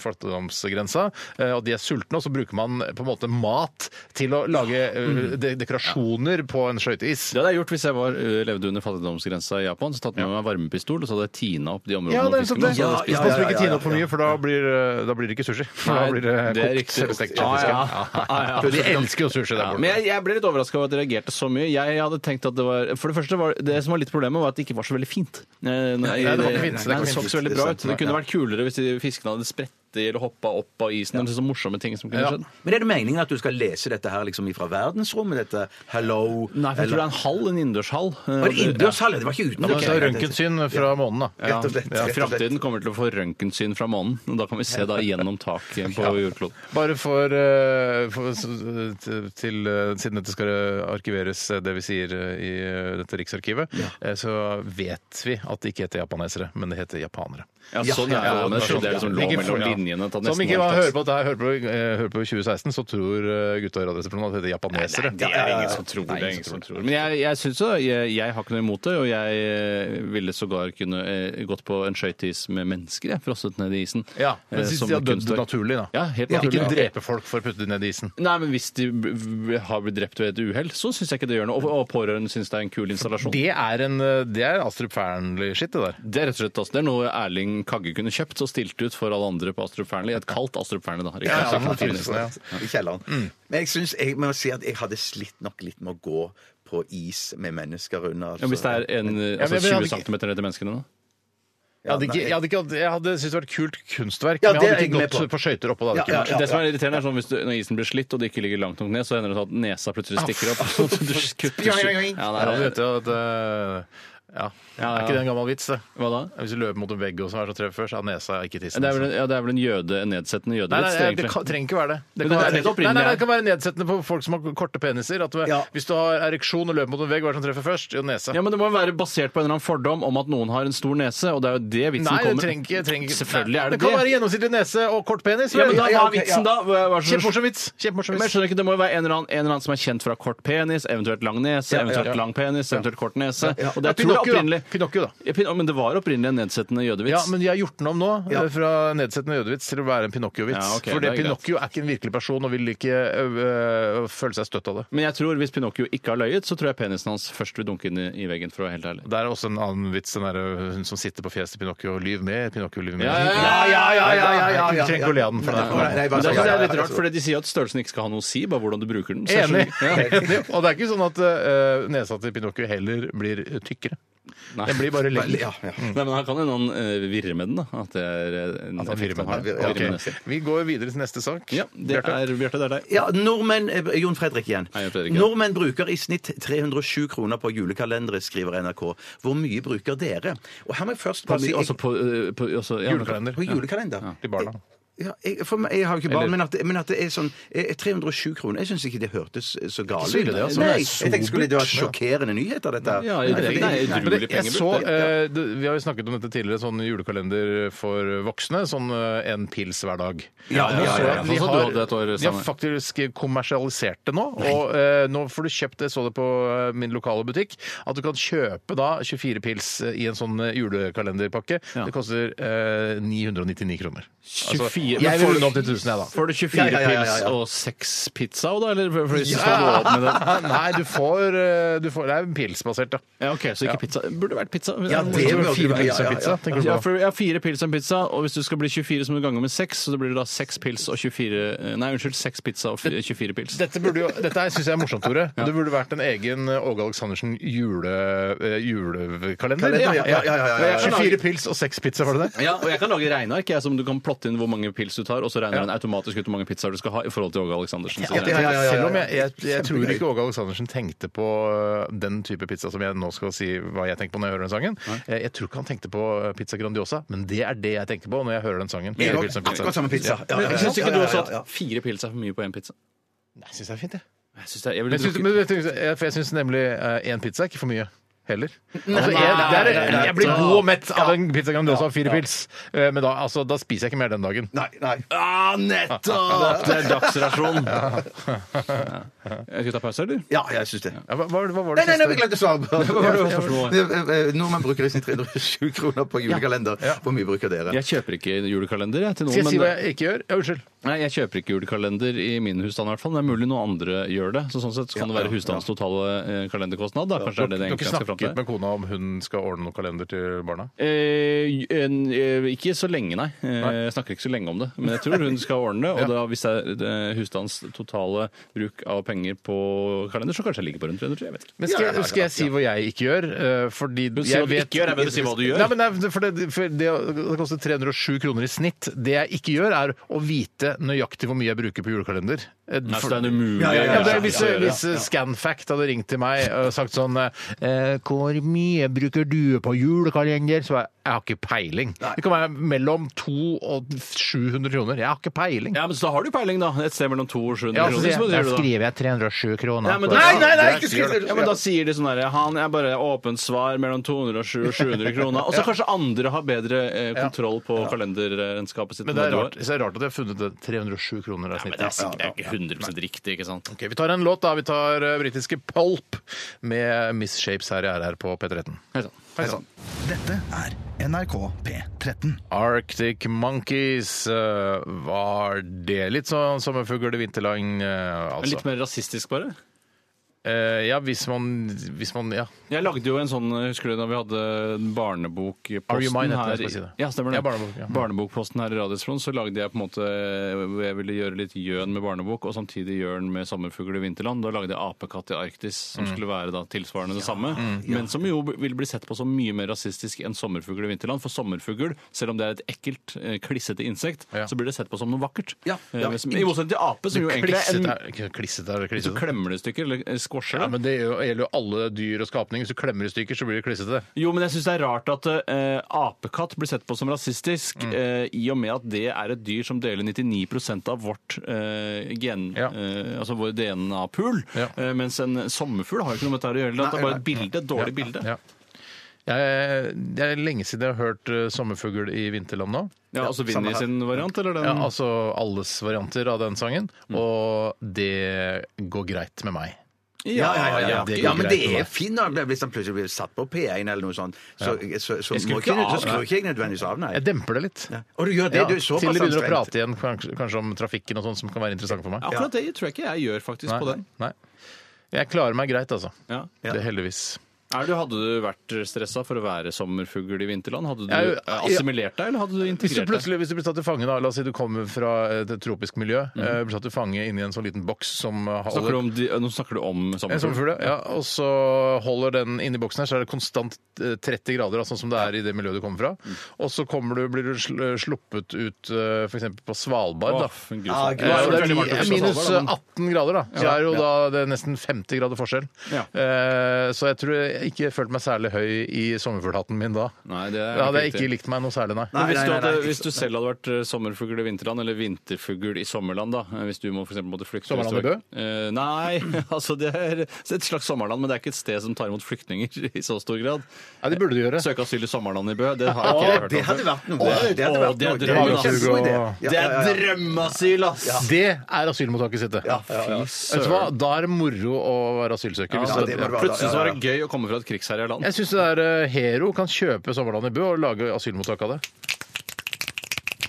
fattigdomsgrensa. eh, Og de er sultne, og så bruker man på en måte mat til å lage eh, de dekorasjoner på en skøyteis.
det hadde jeg gjort hvis jeg var, eh, levde under fattigdomsgrensa i Japan. Så tatt med meg varmepistol, og så hadde jeg tina opp de områdene.
Ja, det er
med
nettopp
fisken,
det.
og så
Ja,
hadde
ja,
jeg spist
ja, ja,
Pass på
det.
ikke tine opp for mye, for da blir, eh, da blir det ikke sushi. For da blir det
Nei, det er
kokt
riktig.
stekt
Ja,
kjøttfisk.
ja.
Ja, ja. De elsker jo sushi der
Ja,
borte.
men jeg, jeg ble litt overraska over at de reagerte så mye. Jeg hadde tenkt at Det var For det første var det som var litt problemet, var at det ikke var så veldig fint. Eh, Nei,
det var ikke fint, det
nei,
var
det
ikke
så ikke så
fint,
veldig
det
bra
er
ut.
sant,
Det kunne vært kulere hvis de fiskene hadde spredt eller hoppa opp av isen. Eller sånne morsomme ting som kunne
Ja.
skjedd.
Men er det meningen at du skal lese dette her liksom ifra verdensrommet? Dette 'hello'?
Nei, for jeg tror
eller-
det er en hall, en innendørshall. Eh,
Var det innendørshall? Det var ikke
Det var
utendørs.
så Røntgensyn fra månen, da.
Rett og slett.
Ja,
Rett og slett.
Framtiden kommer til å få røntgensyn fra månen. og Da kan vi se da gjennom taket på jordkloden.
Bare for, eh, for s- t- til, eh, Siden dette skal eh, arkiveres, eh, det vi sier eh, i eh, dette Riksarkivet, eh, så vet vi at det ikke heter japanesere, men det heter japanere.
Ja, sånn er det.
ja,
men det er sånn det er liksom lov
Ikke
mellom-
for
ja.
din
linjene. Tatt
Som
nesten
ikke
all
var,
slags-
hører på dette her, hører på, eh, hører på 2016, så tror eh, gutta i Radioresepsjonen at det er japanesere.
Det er ingen som tror det. er ingen som tror. Men jeg, jeg syns jo jeg, jeg har ikke noe imot det, og jeg eh, ville sågar kunne eh, gått på en skøyteis med mennesker, jeg, frosset ned i isen.
Ja, men
eh,
sist
som
de har dødd
kunstverk.
naturlig, da.
Ja, helt
Ikke
naturlig.
drepe folk for å putte det ned i isen.
Nei, men hvis de b- b- har blitt drept ved et uhell, så syns jeg ikke det gjør noe. Og, og pårørende syns det er en kul installasjon.
Det er, en, eh, det er Astrup Fearnley-shit, det der.
Det er rett og slett altså, det er noe Erling Kagge kunne kjøpt og stilt ut for alle andre på Astrup Fearnley. Et kaldt Astrup Fearnley, da.
Ja,
sånn
ja,
Ikke sant?
naturligvis, ja. Mm.
I kjelleren. Men jeg synes, jeg må si at jeg hadde slitt nok litt med å gå på is med mennesker under.
Ja, hvis det er en, eh, altså,
men jeg hadde
20
ikke-
cm ned til menneskene, da?
Jeg hadde, ikke, jeg hadde, ikke, hatt- jeg hadde syntes det var et kult kunstverk,
Ja,
men jeg
det er
hadde
jeg
ikke
med
gått på, skøyter oppå. Det hadde
Ja,
ikke
ja,
vært.
Det som er irriterende er sånn hvis du, når isen blir slitt og det ikke ligger langt nok ned, så hender det sånn at nesa plutselig stikker opp. Så du kutter
Ja,
ja,
du
det
vet
er,
jo at eh, ja.
Ja,
Er
ja.
ikke det en gammel vits, det?
hva da?
Hvis du løper mot en vegg og så er det så treffer først, er nesa ikke tissen. altså.
Det er vel en, ja, det er vel en jøde, en nedsettende
Nei, nei,
jødevits,
nei, det
egentlig.
kan, trenger ikke være det. Det
Men
kan,
det er
være,
litt
nei,
opprinnelig,
nei, nei,
ja.
det kan være nedsettende på folk som har korte peniser. At du- Hvis du har ereksjon og løper mot en vegg, hva er det som treffer først? Jo, nesa.
Ja, men Det må jo være basert på en eller annen fordom om at noen har en stor nese, og det er jo det vitsen
Nei, det
kommer
trenger ikke trenger ikke-
Selvfølgelig er det
Det kan
det.
være gjennomsnittlig nese og kort penis.
Ja, men da,
vel?
Hva er
ok, altså. ja.
vitsen da? Hva, hva er det som-
Kjempemorsom vits. Kjempemorsom
men jeg
vits.
skjønner ikke, Det må jo være en eller, annen, en eller annen som er kjent fra kort penis, eventuelt lang nese, eventuelt
ja.
lang penis, eventuelt kort nese. Og det
Ja,
er, tror jeg
Pinocchio, da.
opprinnelig
Pinocchio, da.
Ja, Pin- Men det var opprinnelig en nedsettende jødevits.
Ja, men de har gjort den om nå, eh, fra nedsettende jødevits til å være en Pinocchio-vits.
Ja, ok,
For det,
det er greit.
Pinocchio er ikke en virkelig person og vil ikke øh, øh, føle seg støtt av det.
Men jeg tror hvis Pinocchio ikke har løyet, så tror jeg penisen hans først vil dunke inn i, i veggen. for å være helt ærlig.
Det er også en annen vits, den derre hun som sitter på fjeset til Pinocchio og lyver med. Pinocchio lyver med.
Ja, ja, ja,
ja, ja, ja, ja, ja, ja.
Du trenger ikke å le av den for det.
Nei, nei,
Men
bare
det synes
så-
jeg er
ja,
litt
ja, ja.
rart, for de sier at størrelsen ikke skal ha noe å si, bare hvordan du bruker den. Så jeg
Enig.
skjønner- Ja.
Enig. Og det er ikke sånn at eh, nesa til Pinocchio heller blir tykkere.
Nei.
Den blir bare lengre.
Ja, ja.
Nei, men her kan jo noen eh, virre med den, da. At det er eh, en
At han
effekt
virrer
han
med
har.
den.
Ja,
Virre med
Ok.
nesen.
Vi går videre til neste sak.
Ja, det
Bjarte.
er Bjarte, det er deg.
Ja, nordmenn, eh, Jon Fredrik igjen.
Hei, Jon Fredrik, ja.
nordmenn bruker i snitt 307 kroner på julekalendere, skriver NRK. Hvor mye bruker dere? Og her må jeg først bare si...
Altså på, eh, på altså, ja, men-
Julekalender.
På julekalender.
Til barna.
Ja, jeg, for meg, jeg har jo ikke barn,
Eller-
men, at, men at det er sånn eh, 307 kroner Jeg syns ikke det hørtes eh, så galt
så ille det, altså. Det er
Nei, jeg tenkte skulle det var sjokkerende nyheter, dette. her.
Ja, jeg-
Nei,
nei, jeg-
nei.
Men det,
Utrolig
jeg
pengebruk,
så,
det.
eh, det, vi har jo snakket om dette tidligere, sånn julekalender for voksne. Sånn eh, en pils hver dag.
Ja, ja,
Nå
ja,
så jeg
ja.
at
Sånn
De
som du
har,
hadde et år
de har
sammen.
faktisk kommersialisert det nå. Og eh, nå får du kjøpt, jeg så det på eh, min lokale butikk, at du kan kjøpe da 24 pils eh, i en sånn eh, julekalenderpakke.
Ja.
Det koster eh, 999 kroner. Altså, jeg
24 Men får
vil
du-
nå opp til 1000, jeg, da.
Får du 24
Ja, ja, ja, ja,
pils
ja.
og seks pizza, da? Eller for, for hvis du skal gå opp med det?
Nei, du får, eh, du får Det er pilsbasert, ja.
Ja, ok, Så ikke pizza. Burde vært pizza.
Ja, det
Så
burde
det er Fire
Ja, ja,
pils og
ja,
en pizza,
ja.
tenker du
Ja,
på.
for jeg har fire pils og en pizza, og hvis du skal bli 24, så må du gange med 6, så det blir da 6 pils og 24 Nei, unnskyld, 6 pizza og fi- 24 pils.
Dette, burde jo, dette syns jeg er morsomt, Tore. Det burde vært en egen eh, Åge Aleksandersen jule, eh, julekalender.
Kalender, ja, ja, ja, ja, ja, ja.
24 pils og 6 pizza, var det det?
Ja, og jeg kan lage regneark jeg, som du kan plotte inn hvor mange pils du tar, og så regner den automatisk ut hvor mange pizzaer du skal ha i forhold til Åge Aleksandersen. Så
Ja, ja,
det er-
ja, ja, ja.
Selv om jeg, jeg, jeg tror ikke Åge Aleksandersen tenkte på eh, den type pizza som jeg nå skal si hva jeg tenker på når jeg hører den sangen. Eh, Jeg tror ikke han tenkte på eh, pizza Grandiosa, men det er det jeg tenker på når jeg hører den sangen.
Jeg
Fire
går
pils og en pizza.
Akkurat samme pizza. Ja, ja, ja,
Men Syns
ja,
ikke du
ja,
også
ja, ja.
at fire pils er for mye på én pizza?
Nei, Jeg syns det er fint, jeg.
Jeg syns det er- jeg
Men
ville
jeg syns-
drukket-
men vet du, jeg- for jeg syns nemlig én pizza er ikke for mye. Heller. Altså,
Nei,
jeg, det
nei,
er,
nei,
jeg blir
nei.
god og mett av en pizza Grandiosa og fire pils, Eh, men da, altså, da spiser jeg ikke mer den dagen.
Nei, nei.
Ah, nettopp! Det er dagsrasjon. Skal vi ta pause, eller?
Ja, jeg syns det.
Ja, hva, hva, hva var
Nei,
det
nei, nei, vi
siste?
glemte å svare på
var det spørsmålet?
det. eh, Nordmenn bruker i snitt 307 kroner på julekalender. Hvor mye bruker dere?
Jeg kjøper ikke julekalender jeg, til noen.
Skal jeg si
men-
hva jeg ikke gjør? Ja, unnskyld.
Nei, jeg kjøper ikke julekalender i min husstand i hvert fall. men Det er mulig noen andre gjør det. Så sånn sett så kan det være husstandens totale eh, kalenderkostnad. Da. Kanskje det er
Du har
det det
ikke
egentlig jeg skal fram
snakket
til.
med kona om hun skal ordne noen kalender til barna?
Eh, en, eh, ikke så lenge, nei. Eh,
Nei.
Jeg snakker ikke så lenge om det. Men jeg tror hun skal ordne det. Og da, hvis det er eh, husstandens totale bruk av penger på kalender, så kanskje jeg ligger på rundt 300. Jeg vet ikke.
Men skal, jeg- skal jeg si hva jeg ikke gjør? Eh, Fordi
Men si hva du ikke gjør, er bedre å si hva du gjør.
Nei, men nei, for det, for det, det koster 307 kroner i snitt. Det jeg ikke gjør, er å vite nøyaktig hvor mye jeg bruker på julekalender. Eh,
Nei,
for-
så Altså, det er en umulig
Ja, ja,
Ja, det,
ja,
er hvis hvis Scanfact hadde ringt til meg og sagt sånn eh, Hvor mye bruker du på julekalender? Så var jeg Jeg har ikke peiling. Det kan være mellom 200 og 700 kroner. Jeg har ikke peiling.
Ja, men så har du peiling, da. Et sted mellom 200 og 700
Ja, altså,
kroner.
så
så må du
sier jeg,
gjøre
da
det.
skriver jeg 307 kroner.
Ja,
på
men da-
det.
Nei, nei,
nei, ikke skriv det.
Ja, men Da sier de sånn herre Han er bare åpent svar mellom 207 og 700 kroner. Og så kanskje andre har bedre eh, kontroll på kalenderregnskapet sitt.
Men det er,
nedover.
rart, så er det rart at jeg har funnet det 307 kroner. av
Men det er
snittet.
sikkert det er ikke 100 riktig, ikke sant?
Ok, vi tar en låt, da. Vi tar eh, britiske Pulp med Miss Shapes her i RR på P13.
Hei sann.
Hei sann.
Dette er NRK P13.
Arctic Monkeys eh, var det litt sånn sommerfugl i vinterland, eh,
Men
altså.
Litt mer rasistisk, bare.
Eh, ja, hvis man, hvis man Ja.
Jeg lagde jo en sånn, husker du da vi hadde
Are You Mine,
barnebokposten
heter det,
her
skal jeg si det.
Ja, stemmer det.
Ja, barnebok, ja.
Barnebokposten her i Radiospron, så lagde jeg på en måte hvor Jeg ville gjøre litt gjøn med barnebok, og samtidig gjøn med sommerfugl i vinterland. Da lagde jeg apekatt i Arktis, som
Mm.
skulle være da tilsvarende det samme. Men som jo vil bli sett på som mye mer rasistisk enn sommerfugl i vinterland. For sommerfugl, selv om det er et ekkelt, eh, klissete insekt,
Ja.
så blir det sett på som noe vakkert.
Ja, ja.
Eh, som- I motsetning til ape, som jo egentlig er
Klissete
en
er ikke klissete, er det
Hvis du
klissete.
klemmer det i stykker, eller eh, squasher det
Ja, men Det gjør- gjelder jo alle dyr og skapninger. Hvis du klemmer i stykker, så blir det klissete.
Jo, men jeg syns det er rart at eh, apekatt blir sett på som rasistisk,
Mm.
eh, i og med at det er et dyr som deler 99 av vårt eh, gen,
Ja.
eh, altså vår DNA-pool,
Ja.
eh, mens en sommerfugl har jo ikke noe med dette å gjøre. Det er bare et bilde, et dårlig bilde.
Ja. Jeg, det er lenge siden jeg har hørt eh, sommerfugl i vinterland nå.
Ja, altså Vinni sin variant, eller den?
Ja, altså alles varianter av den sangen.
Mm.
Og det går greit med meg.
Ja, ja, ja, ja.
det går
ja, men det
greit for
er
meg.
fint når- hvis han plutselig blir satt på P1 eller noe sånt. Så, så, så,
Jeg skrur
må
ikke
ikke,
av,
så skrur ikke jeg nødvendigvis av, nei.
Jeg demper det litt. Ja.
Og du gjør det, du
Til
er såpass
de begynner å
anstrengt.
prate igjen kanskje, kanskje om trafikken og sånn som kan være interessant for meg.
Akkurat det tror jeg ikke jeg gjør faktisk på
Nei,
den.
nei. Jeg klarer meg greit, altså.
Ja.
Det er heldigvis.
Er du, hadde du vært stressa for å være sommerfugl i vinterland? Hadde du
Jeg-
eh, assimilert deg, eller hadde du
Hvis du
integrert deg?
plutselig hvis du blir tatt til fange, da, la oss si du kommer fra et tropisk miljø, eh, blir tatt til fange inni en sånn liten boks som eh, har
Snakker du om de, nå snakker du om
En
sommerfugl.
sommerfugl, ja. ja. Og så holder den inni boksen her, så er det konstant eh, 30 grader, da, sånn som det er i det miljøet du kommer fra. Og så kommer du, blir du sl- sluppet ut f.eks. på Svalbard.
Åh,
da.
en grusom-
Ah,
Ja,
Ja,
det
det
er
er
mi-
veldig varmt
minus
på Svalbard,
18 grader, da. Så er jo da det er nesten 50 grader forskjell.
Ja.
Eh, Så jeg tror jeg ikke følte meg særlig høy i sommerfuglhatten min da.
Nei, det er
Da hadde jeg
riktig.
ikke likt meg noe særlig, nei.
Nei,
hvis,
nei,
du
nei,
hadde,
nei, ikke
hvis du selv hadde vært eh, sommerfugl i vinterland, eller vinterfugl i sommerland, da eh, Hvis du må for eksempel måtte flykte
Sommerland
hvis du
i
var- Eh, Nei, altså det er et slags sommerland, men det er ikke et sted som tar imot flyktninger i så stor grad.
Ja, det burde du gjøre.
Søke asyl i sommerland i Bø, det har ikke jeg hørt
Det
om.
hadde vært noe.
Åh,
Det hadde
åh,
vært
det er
noe. Det
drømmen,
var en
altså.
kjempegod idé.
Det er drømmeasyl, ass!
Det er asylmottaket sitt, det.
Fy
Vet du hva?
søren.
Da er det moro å være asylsøker. hvis
ja,
du-
det må det være.
Plutselig så var det gøy å komme fra et krigsherja land.
Jeg syns det der eh, Hero kan kjøpe Sommerland i Bø og lage asylmottak av det.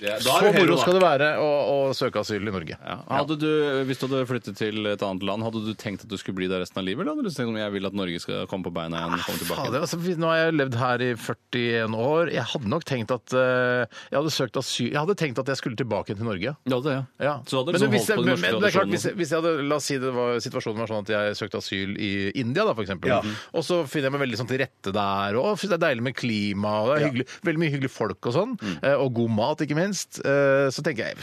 Det er- da
Så
er du hero,
moro
da.
skal det være å, å søke asyl i Norge.
Ja. Hadde du, hvis du hadde flyttet til et annet land, hadde du tenkt at du skulle bli der resten av livet? Eller hadde du tenkt om jeg vil at Norge skal komme på beina igjen? og komme tilbake?
Fader, altså, nå har jeg levd her i 41 år. Jeg hadde nok tenkt at eh, jeg hadde søkt asyl Jeg hadde tenkt at jeg skulle tilbake til Norge.
Ja, det, ja.
Ja.
Så hadde
Men
liksom
hvis
holdt
jeg,
på den
men, men
norske
det er klart, hvis,
tradisjonen.
jeg- hvis jeg hadde, La oss si det var, situasjonen var sånn at jeg søkte asyl i India, da, for eksempel. Og så finner jeg meg veldig sånn til rette der. Og synes det er deilig med klima, og det er hyggelig, veldig mye hyggelige folk og sånn. eh, Og god mat, ikke minst. Eh, Så tenker jeg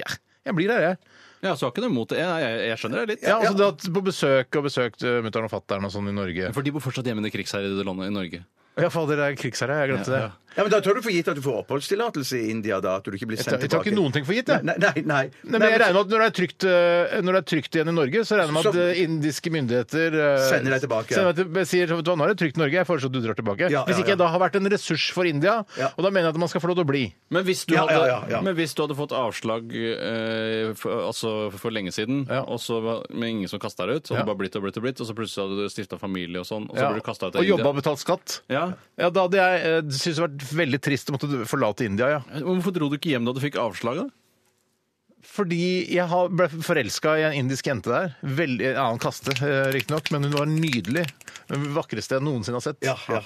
ja, jeg blir der, jeg.
Ja, så har ikke noe imot det. Jeg, jeg, jeg skjønner det litt.
Ja, altså dratt på besøk og besøkt eh, mutter'n og fatter'n og sånn i Norge.
For de bor fortsatt hjemme i det krigsherjede landet i Norge.
Ja, fader, det er krigsherre. Jeg glemte det.
Ja, men Da tar du for gitt at du får oppholdstillatelse i India, da? At du ikke blir
Jeg tar,
sendt
jeg tar
tilbake?
ikke noen ting for gitt, jeg.
Nei, nei. nei.
Nei, men jeg regner med at når det, er trygt, eh, når det er trygt igjen i Norge, så regner jeg med at
Så-
eh, indiske myndigheter eh,
Sender deg tilbake.
sender deg til, sier vet du hva, nå er det trygt i Norge, jeg foreslår at du drar tilbake.
Ja, ja,
Hvis ikke
ja.
jeg da har vært en ressurs for India,
Ja.
og da mener jeg at man skal få lov til å bli.
Men hvis du,
Ja,
hadde,
ja, ja, ja.
Men hvis du hadde fått avslag eh, for, altså for lenge siden,
Ja.
og så var med ingen som kasta deg ut, så
Ja.
hadde du bare blitt og blitt og blitt, og så plutselig hadde du stifta familie og sånn, og så
Ja.
ble du kasta ut
Og
av
jobba og
India.
betalt skatt.
Ja.
Ja, da hadde jeg eh, syntes det vært veldig trist å måtte forlate India, ja.
Men Hvorfor dro du ikke hjem da du fikk avslag, da?
Fordi jeg har- ble forelska i en indisk jente der. Veldig, en annen kaste, eh, riktignok, men hun var nydelig. Den vakreste jeg noensinne har sett.
Ja, ja.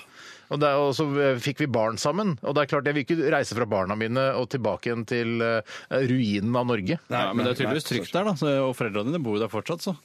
Og, det, er- og så eh, fikk vi barn sammen. Og det er klart, jeg vil ikke reise fra barna mine og tilbake igjen til eh, ruinen av Norge.
Ja, men det er tydeligvis trygt der, da, så- og foreldrene dine bor jo der fortsatt, så.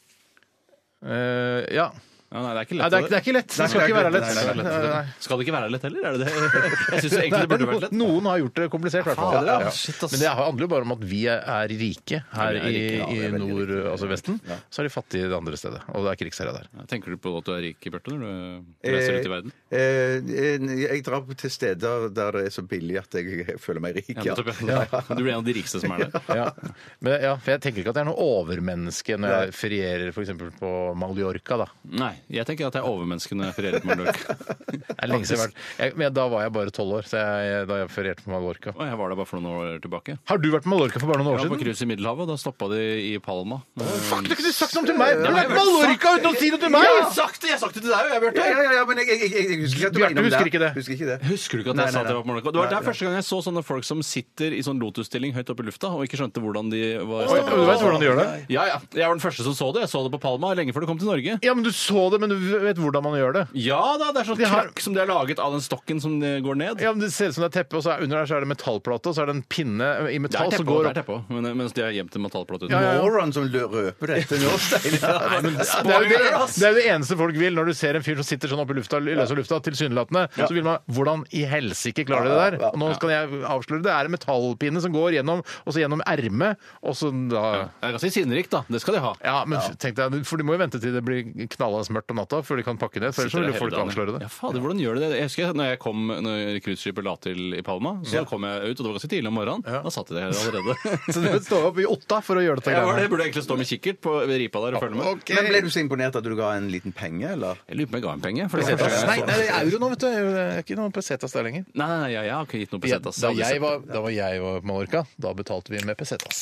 Eh, ja.
Ja, nei, det er ikke
Nei,
lett.
det er, det er ikke lett. Det skal ikke være lett. Eh,
Nei, det er lett.
Nei, nei.
Skal det ikke være lett heller? Er det det? Jeg syns egentlig det burde vært lett.
Noen har gjort det komplisert, i hvert fall.
fader, ja. Shit, ass.
Men det handler jo bare om at vi er rike her
Ja, vi er rike, ja,
i,
vi
i
er veldig
nord, altså Vesten. Så er de fattige det andre stedet. Og det er krigsherre der.
Ja, Tenker du på at du er rik, Bjarte, når du reiser ut i verden?
Eh, eh, jeg drar på til steder der det er så billig at jeg føler meg rik.
Ja, nettopp, ja. Du blir en av de rikeste som er der.
Ja. Men, ja, for jeg tenker ikke at jeg er noe overmenneske når jeg ferierer f.eks. på Mallorca. da.
Nei, jeg tenker at jeg er overmenneske når jeg ferierer på Mallorca.
Det er lenge siden jeg har vært jeg, Men da var jeg bare tolv år, så jeg, da jeg ferierte på Mallorca.
Og Jeg var der bare for noen år tilbake.
Har du vært på Mallorca for bare noen
Jeg
år
var på
siden?
cruise i Middelhavet, og da stoppa de i Palma.
Fuck, du kunne sagt noe til meg! Du har
jeg
vært på Mallorca uten å si noe til meg!
Jeg har sagt det! Jeg har sagt det til deg òg,
Ja,
Bjarte.
ja, ja, men jeg, jeg, jeg, jeg husker ikke at du var
Bjarte
innom
husker
der.
ikke det.
Husker ikke det.
Husker du ikke at
Nei,
jeg sa
nei,
at jeg
nei.
var på Mallorca? Det var
Nei,
der
nei.
første gang jeg så sånne folk som sitter i sånn lotusstilling høyt oppe i lufta og ikke skjønte hvordan de var
Oi, du vet hvordan de gjør det?
Ja, ja. Jeg var den første som så det. Jeg så det på Palma lenge før det kom til Norge.
Ja, men Du så det, men du vet hvordan man gjør det.
Ja da, det er sånn
De har-
krakk som de har laget av den stokken som eh, går ned.
Ja, men Det ser ut som det er teppe, og så er under der så er det metallplate, og så er det en pinne i
Det er
metall som
teppet,
går
det er teppet, men, eh, mens de har gjemt en
Ja,
metallplate utenfor.
ja, ja.
Moron som lø- røper dette nå, Steinar.
Det er, jo det, det er jo det eneste folk vil når du ser en fyr som sitter sånn oppe i lufta, i løse lufta, tilsynelatende. Så vil man Hvordan i helsike klarer de det der? Og nå skal jeg avsløre det. Det er en metallpinne som går gjennom, og så gjennom ermet, og så da
Det er ganske sinnerikt, da. Det skal de ha.
ja, men tenk deg, For de må jo vente til det blir knalla mørkt om natta før de kan pakke ned. For ellers så vil jo folk avsløre
Ja,
det.
fader, hvordan gjør de det? Jeg husker når jeg kom når cruiseskipet la til i Palma, så kom jeg ut, og det var ganske tidlig om morgenen. Da satt de der allerede.
Så du bør stå opp i åtta for å gjøre dette.
Jeg var det,
greiene.
burde jeg egentlig stå med kikkert på ved ripa der og følge med.
Men ble du så imponert at du ga en liten penge, eller?
Jeg lurer på om jeg ga en penge. For det var første gang
Nei,
jeg så-
nei, det er euro nå, vet du. Det er ikke noe pesetas der lenger. Altså,
Nei, nei, nei, jeg har ikke gitt noe pesetas.
Da jeg var, da var jeg var på Mallorca, da betalte vi med pesetas.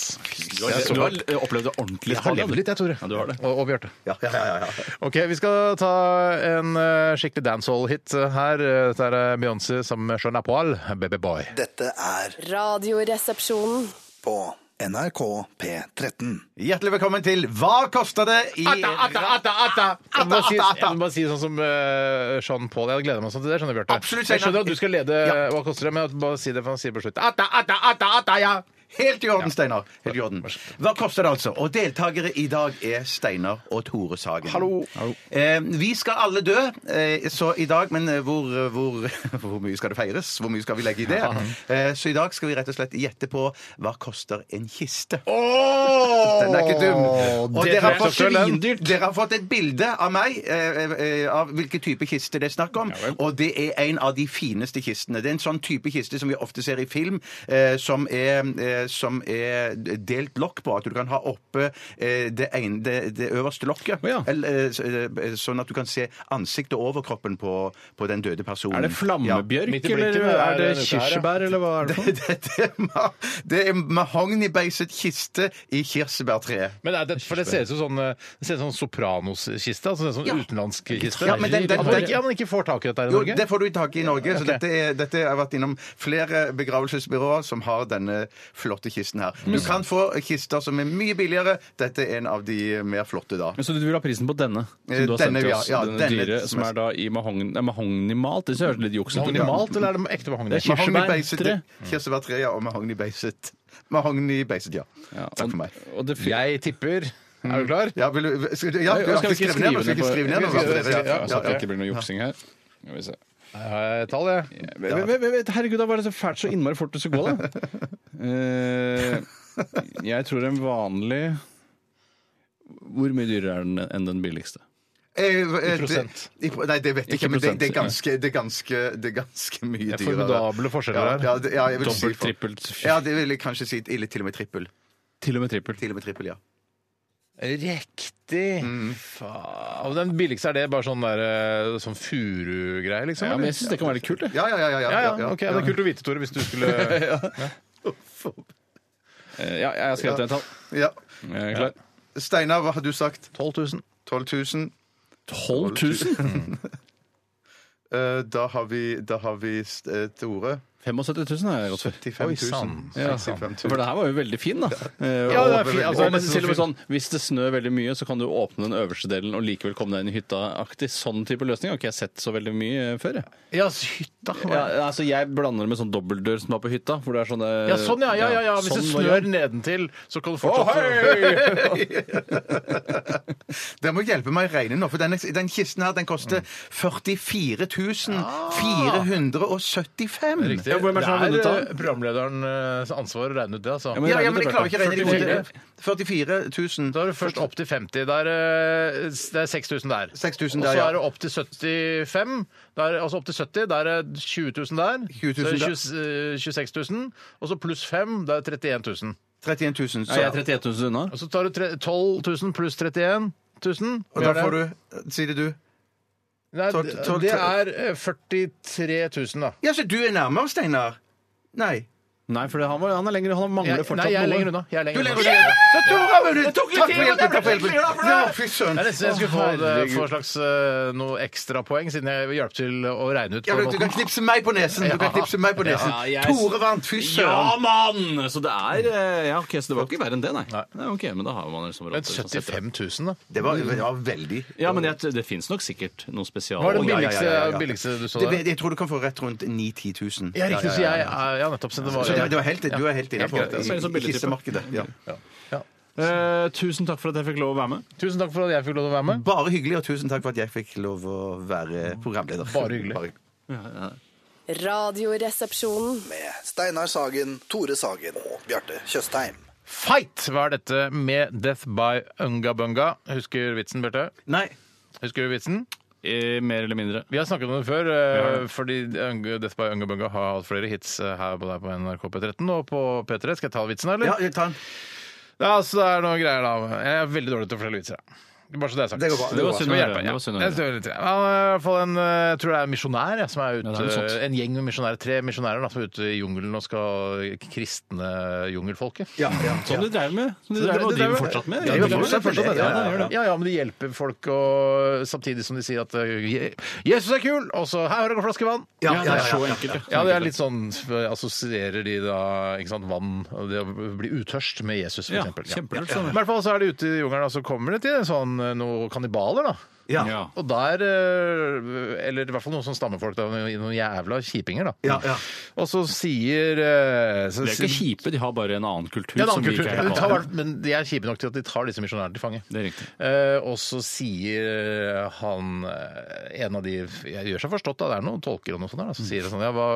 Du har, du har opplevd det ordentlig.
Jeg har levd litt, jeg, Tore.
Ja, du har det.
Og, og Bjarte.
Ja, ja, ja, ja.
Ok, vi skal ta en eh, skikkelig dancehall-hit eh, her. Dette er Beyoncé sammen med Jean Apoil, Baby Boy.
Dette er
Radioresepsjonen.
på NRK P13.
Hjertelig velkommen til Hva koster det i
Jeg må si, jeg må bare si sånn som eh, Jean Paul. Jeg gleder meg sånn til det. skjønner du, Bjarte.
Absolutt,
Jeg skjønner
Steinar.
at du skal lede eh,
Ja.
Hva koster det, men jeg må bare si det for han sier på slutt. Atta, atta, atta, atta, ja.
Helt i orden, Steinar. Helt i orden. Hva koster det, altså? Og deltakere i dag er Steinar og Tore Sagen.
Hallo.
Eh, vi skal alle dø, eh, så i dag Men eh, hvor, hvor, hvor mye skal det feires? Hvor mye skal vi legge i det? Eh, så i dag skal vi rett og slett gjette på hva koster en kiste. Den er ikke dum. Og
det
dere
tror
har,
jeg
fått,
selv, den.
dere har fått et bilde av meg, eh, eh, av hvilken type kiste det er snakk om. Og det er en av de fineste kistene. Det er en sånn type kiste som vi ofte ser i film, eh, som, er, eh, som er delt lokk på. At du kan ha oppe eh, det, ene, det, det øverste lokket.
Å ja.
Eller, eh, så- eh, sånn at du kan se ansiktet og overkroppen på, på den døde personen.
Er det flammebjørk,
Midt i blinken,
eller
det er
er det
denne uka her, ja.
kirsebær, eller hva er det for noe?
Det, det, er ma- det er mahognibeiset kiste i kirsebærtre.
Men er det, for det ser ut som sånn, eh, det ser ut som sånn Sopranos-kiste. Altså en sånn utenlandsk kiste.
Ja, men den- den-
at, man
den-
ikke, ja, man ikke får tak i dette her i
Jo,
Norge.
det får du tak i i Norge. Så dette er, dette jeg har vært innom flere begravelsesbyråer som har denne flotte kisten her. Du kan få kister som er mye billigere. Dette er en av de mer flotte, da.
Men Så du vil ha prisen på denne? Som
Eh,
du har
denne,
sendt til
ja,
oss,
ja,
denne
denne
dyre, som
som er-
er da i mahogn- nei, mahognimalt? Det høres litt juks ut.
Mahognimalt, eller er det ekte mahogni?
Det er kirsebær.
Mahognibeiset-
tre.
Kirsebærtre, ja. Og mahognibeiset. Mahognibeiset, ja.
Ja,
Takk for
og-
meg.
og det-
Jeg tipper Er du klar?
Mm. Ja, vil du, skal, du- ja,
Nei,
du har
skal vi
ikke
ikke
skrevet ned noe? Skal vi ikke
skrive
skrive ned
ned på-
noe?
Skal vi skrive-
Ja,
ja,
Så
ja,
at det
ja.
ikke blir noe juksing her. Skal vi se.
Jeg har et tall, jeg.
Vent, vent, vent, Herregud, da var det så fælt så innmari fort det skulle gå, da. Eh, Jeg tror en vanlig Hvor mye dyrere er den enn den billigste?
Eh, eh,
prosent.
det- i- Nei, det vet jeg
Ikke
ikke, men det, det, er
prosent,
ganske, det, er ganske, det er ganske mye
Det er
dyrere.
formidable forskjeller her.
Ja, ja, det- ja, jeg vil si
Dobbelt,
for-
trippelt,
Ja, det vil jeg kanskje si. Eller til og med trippel.
til og med trippelt.
Til og med trippel, ja.
Riktig!
Mm.
Faen. Og den billigste, er det bare sånn der eh, sånn furugreie, liksom?
Ja, men
eller?
jeg syns det kan være litt kult, det.
Ja, ja, ja. ja, ja,
ja, ja, ok, Det er kult å vite, Tore, hvis du skulle ja.
Eh, Ja, jeg har skrevet ned et tall.
Ja.
Jeg er klar.
Steinar, hva har du sagt?
12 000.
12 000.
12 000?
Eh, da har vi, da har vi eh, Tore.
75 000 har jeg gått for.
75
Oi,
000.
sann.
Ja,
65
for det her var jo veldig fin, da. Eh,
Ja, det er
og-
fin. Altså, det er
og
nesten så
til og med
fin.
sånn, Hvis det snør veldig mye, så kan du åpne den øverste delen og likevel komme deg inn i hytta-aktig. Sånn type løsning har ikke jeg sett så veldig mye eh, før. jeg.
Ja, hytta.
Ja, altså, jeg blander det med sånn dobbeltdør som er på hytta. Hvor det er sånne,
Eh,
Ja, sånn, ja. ja, ja, ja. Hvis det
sånn variant.
snør nedentil, så kan du
Å,
fortsatt
Dere må hjelpe meg å regne nå, for denne, den kisten her den koster 44 475.
Riktig.
Ja, hvem er det som har
Ah! det
vunnet da?
er eh, programlederens ansvar å regne ut det, altså.
men-
Ja, ja, men jeg klarer ikke å regne i hodet.
Da
44 000.
er du først opp til 50. Det er, eh, det er 6000 der.
6000
Og
der,
så
ja.
er det opp til 75. Der, altså opp til 70. Der er 20 000 der.
20
så
000
er det 20, eh, 26 000. Og så pluss 5, det er 31 000.
31 000.
Ja, jeg er 31
Så,
000 unna.
Og så tar du tre- 12 000 pluss 31 000.
og da får du Sier det du?
Nei,
tolv- tolv-
det er eh, 43 000, da.
Ja, så du er nærmere, Steinar? Nei.
Nei, for det- han, var, han er lenger, han mangler
Jeg,
fortsatt
nei, jeg er
noe.
lenger unna. Jeg er
Du
lenger
legger
unna.
deg ned. Så Tore har vunnet!
Det tok litt
Takk for
tid, men
hjelpen!
jeg
Takk for
ble så glad for det.
hjelpen! Ja, fy søren.
Jeg, nesten, jeg skulle få, det,
herregud.
få et slags eh, noe ekstrapoeng, siden jeg hjalp til å regne ut.
Ja,
på
men du kan
måten.
knipse meg på nesen! Du kan knipse meg på nesen.
Ja, jeg-
Tore vant! Fy
Ja,
søren!
mann! Så det er eh, Ja, OK, så det var ikke verre enn det, nei.
Nei.
nei ok, men da har man liksom råd
Men
til å sette det.
75 000, da?
Det var, det var veldig
Ja, men jeg, det fins nok sikkert noe spesial.
Hva er det
ja, ja,
billigste,
ja, ja.
billigste du så
det,
der?
Jeg tror du kan få rett rundt 9000-10 000.
Ja, riktig. Så jeg er ja, nettopp. Så det var,
Så det, det var helt, du er helt inne på
greit. Det er så
i- i
billig type.
kistemarkedet. Ja.
Eh, tusen takk for at jeg fikk lov å være med.
Tusen takk for at jeg fikk lov til å være med.
Bare hyggelig, og tusen takk for at jeg fikk lov å være programleder.
Bare hyggelig.
Radioresepsjonen.
Med Steinar Sagen, Tore Sagen og Bjarte Tjøstheim.
Fight! Hva er dette med Death by Unga Bunga? Husker du vitsen, Bjarte?
Nei,
Husker du vitsen?
Eh, mer eller mindre.
Vi har snakket om det før, eh, fordi Unga- Death by Unga Bunga har hatt flere hits eh, her på, der på NRK P13 og på P3. Skal jeg ta vitsen, eller?
ja, ta den.
Ja, så det er noen greier da. Jeg er veldig dårlig til å fortelle vitser. jeg. Bare så det er sagt.
Det går bra, det
Skal
går bra.
hjelpe,
Det
ja.
var synd å høre, det var synd å
Jeg
høre.
står litt i det. Han er i hvert fall en, eh, jeg tror det er en misjonær jeg, som er ute,
Ja, det er noe sånt.
en gjeng med misjonærer, tre misjonærer da, som er ute i jungelen og skal kristne jungelfolket.
Ja, ja.
Som de drev med. Som de drev med, og driver fortsatt
Ja,
med. Ja,
de driver
fortsatt med det.
Ja,
Ja,
ja, ja. ja, ja, men de hjelper folk, og samtidig som de sier at eh, Jesus er kul, og så her har dere en flaske vann.
Ja, ja,
det er
ja,
så
ja, ja.
enkelt.
Ja, det er litt sånn assosierer de da ikke sant, vann og det å bli utørst med Jesus, for
Ja,
eksempel.
kjempelurt,
Ja. Men
sånn.
I hvert fall så er de ute i jungelen, og så kommer det til en sånn, noen kannibaler, da.
Ja.
Ja.
Og der eh, Eller i hvert fall noen sånne stammefolk, da, noen jævla kjipinger, da.
Ja, ja.
Og så sier eh, så,
De er ikke kjipe, de har bare en annen kultur.
ja, en
som
annen
vi
kultur.
ikke er
De
vant
tar,
til.
men de er kjipe nok til at de tar disse misjonærene til fange.
Det er riktig.
Eh, og så sier han eh, En av de jeg gjør seg forstått, da, det er noen tolker og noe sånt der, da, som sier det sånn ja, hva,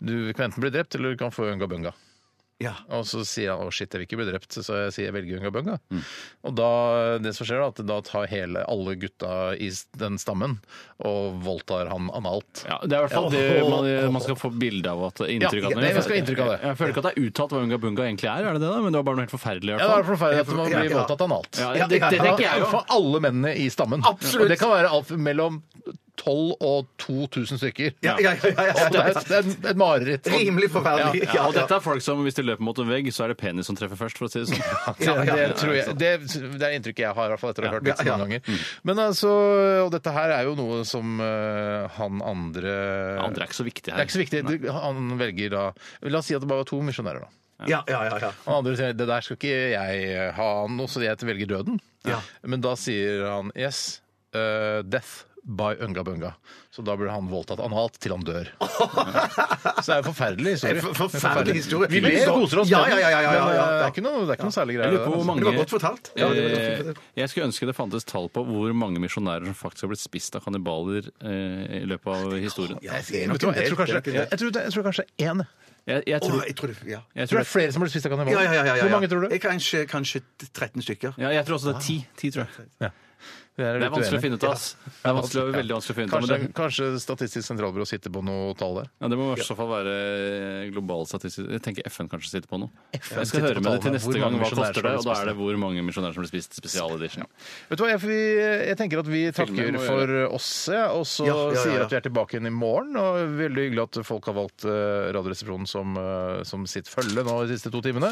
Du kan enten bli drept, eller du kan få unga bunga.
Ja.
Og så sier han å shit, jeg vil ikke bli drept, så jeg sier jeg velger unga bunga. Og da, det som skjer da, at da tar hele, alle gutta i s- den stammen og voldtar han analt.
Ja, det er i hvert fall det man, man skal få bilde av. At inntrykk av
Ja, det- man skal ha inntrykk av det.
Jeg føler ikke at det er uttalt hva unga bunga egentlig er, er det det da? men det var bare noe helt
Ja,
forferdelig. i hvert
det er
fall.
forferdelig at man blir voldtatt analt.
Ja, det, det, det tenker jeg jo.
For alle mennene i stammen.
Absolutt.
Og det kan være alt mellom 12 og 2000 stykker.
Ja, ja, ja, ja,
Så det
ja.
er et, det er et- et mareritt.
Rimelig forferdelig.
Ja, og dette er folk som hvis de løper mot en vegg, så er det penis som treffer først, for å si det sånn.
Ja, det, tror jeg, det, det er inntrykket jeg har i hvert fall etter å ha hørt vitsen
Ja, ja.
mange ganger. Men altså, Og dette her er jo noe som eh, han andre
Andre er ikke så viktige
Det er
her.
ikke så viktig. Du- Han velger da La oss si at det bare var to misjonærer, da.
Ja, ja, ja, ja.
Han andre sier det der skal ikke jeg ha noe, så jeg velger døden.
Ja.
Men da sier han yes, eh, death by unga bunga. Så da blir han voldtatt analt til han dør. Så det er en forferdelig historie.
En for- forferdelig historie.
Vi ler og koser oss
Ja,
med den,
ja, ja, ja, ja,
men,
ja,
eh,
ja.
det er ikke noe, det er ikke noe særlig
Jeg
greier.
lurer på hvor
Det
mange
var godt fortalt. Ja, det var godt
Eh, Jeg skulle ønske det fantes tall på hvor mange misjonærer som faktisk har blitt spist av kannibaler eh, i løpet av historien.
Ja,
Jeg,
det er nok
vet du hva, jeg,
en
tror kanskje,
del, det er
jeg,
nok en del.
tror, det- jeg tror kanskje én.
Jeg, jeg
Åh,
tror,
jeg tror det, ja.
jeg
Jeg tror
tror
det er flere som blir spist av kannibaler.
Ja, ja, ja, ja, ja.
Hvor mange tror du?
Jeg Kanskje, kanskje 13 stykker.
ja, jeg tror også det er ti. ti tror jeg. Det er vanskelig å finne ut av. ass. Det er vanskelig, veldig vanskelig å finne ut av.
Kanskje,
Men det,
kanskje Statistisk sentralbyrå sitter på noe tall der.
ja, det må i hvert fall være global statistisk Jeg tenker FN kanskje sitter på noe. Jeg
sitter
skal
på
høre med det til
tallene. Hvor mange misjonærer
neste gang. Hva koster det?
som har
Og
blitt
da er det hvor mange misjonærer som blir spist spesial edition.
Vet du hva, jeg, vi, jeg tenker at vi
Filmen
takker
må
for oss, ja, og så
Ja, ja, ja,
sier
ja.
at vi er tilbake igjen i morgen. Og veldig hyggelig at folk har valgt eh, Radioresepsjonen som, eh, som sitt følge nå de siste to timene.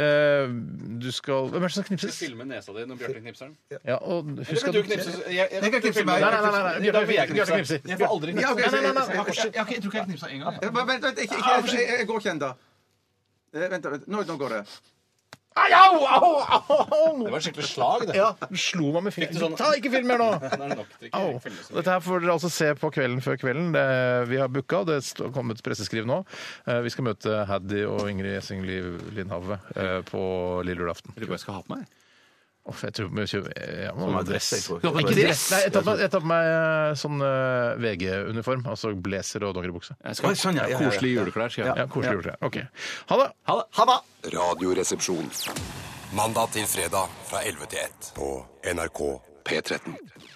Eh, Du skal Hvem er det som knipses?
nesa di når Bjarte knipser den.
Ja, og husk at-
Jeg kan knipse meg.
Nei, nei, nei, nei, nei. Bjarte, jeg knipser.
Jeg får aldri
Ja, ok,
knipse.
så-
Nei, nei, nei, nei.
så-
Jeg har ikke- jeg tror ikke jeg knipsa en gang.
Eh, Vent, vent, vent, ikke- ikke- jeg- jeg- jeg går ikke ennå. Vent, da, vent. Nå, nå går det.
Ai, au, au, au, au!
Det var skikkelig slag, det.
Ja, du slo meg med
sånn-
fingeren. Ta ikke film mer nå! Au. Dette her får dere altså se på Kvelden før kvelden. Det, vi har booka, det står- kom et presseskriv nå. Eh, Vi skal møte Haddy og Ingrid Gjessing Liv- Lindhave eh, på lille julaften.
Jeg tror jeg skal ha på meg.
Åh, Jeg tror vi kjøper jeg må ha dress.
Du har på
Ikke
deg
dress! Nei, jeg tar på meg- jeg tar på meg eh, sånn eh, VG-uniform, altså blazer og dongeribukse.
Jeg skal,
Oi, sånn, ja, ja, ja, ja.
Koselige juleklær skal jeg ha.
Ja, koselig gjort. det. Ok. Ha det!
Ha det. Ha det.
Radioresepsjon. Mandag til fredag fra 11 til 1 på NRK P13.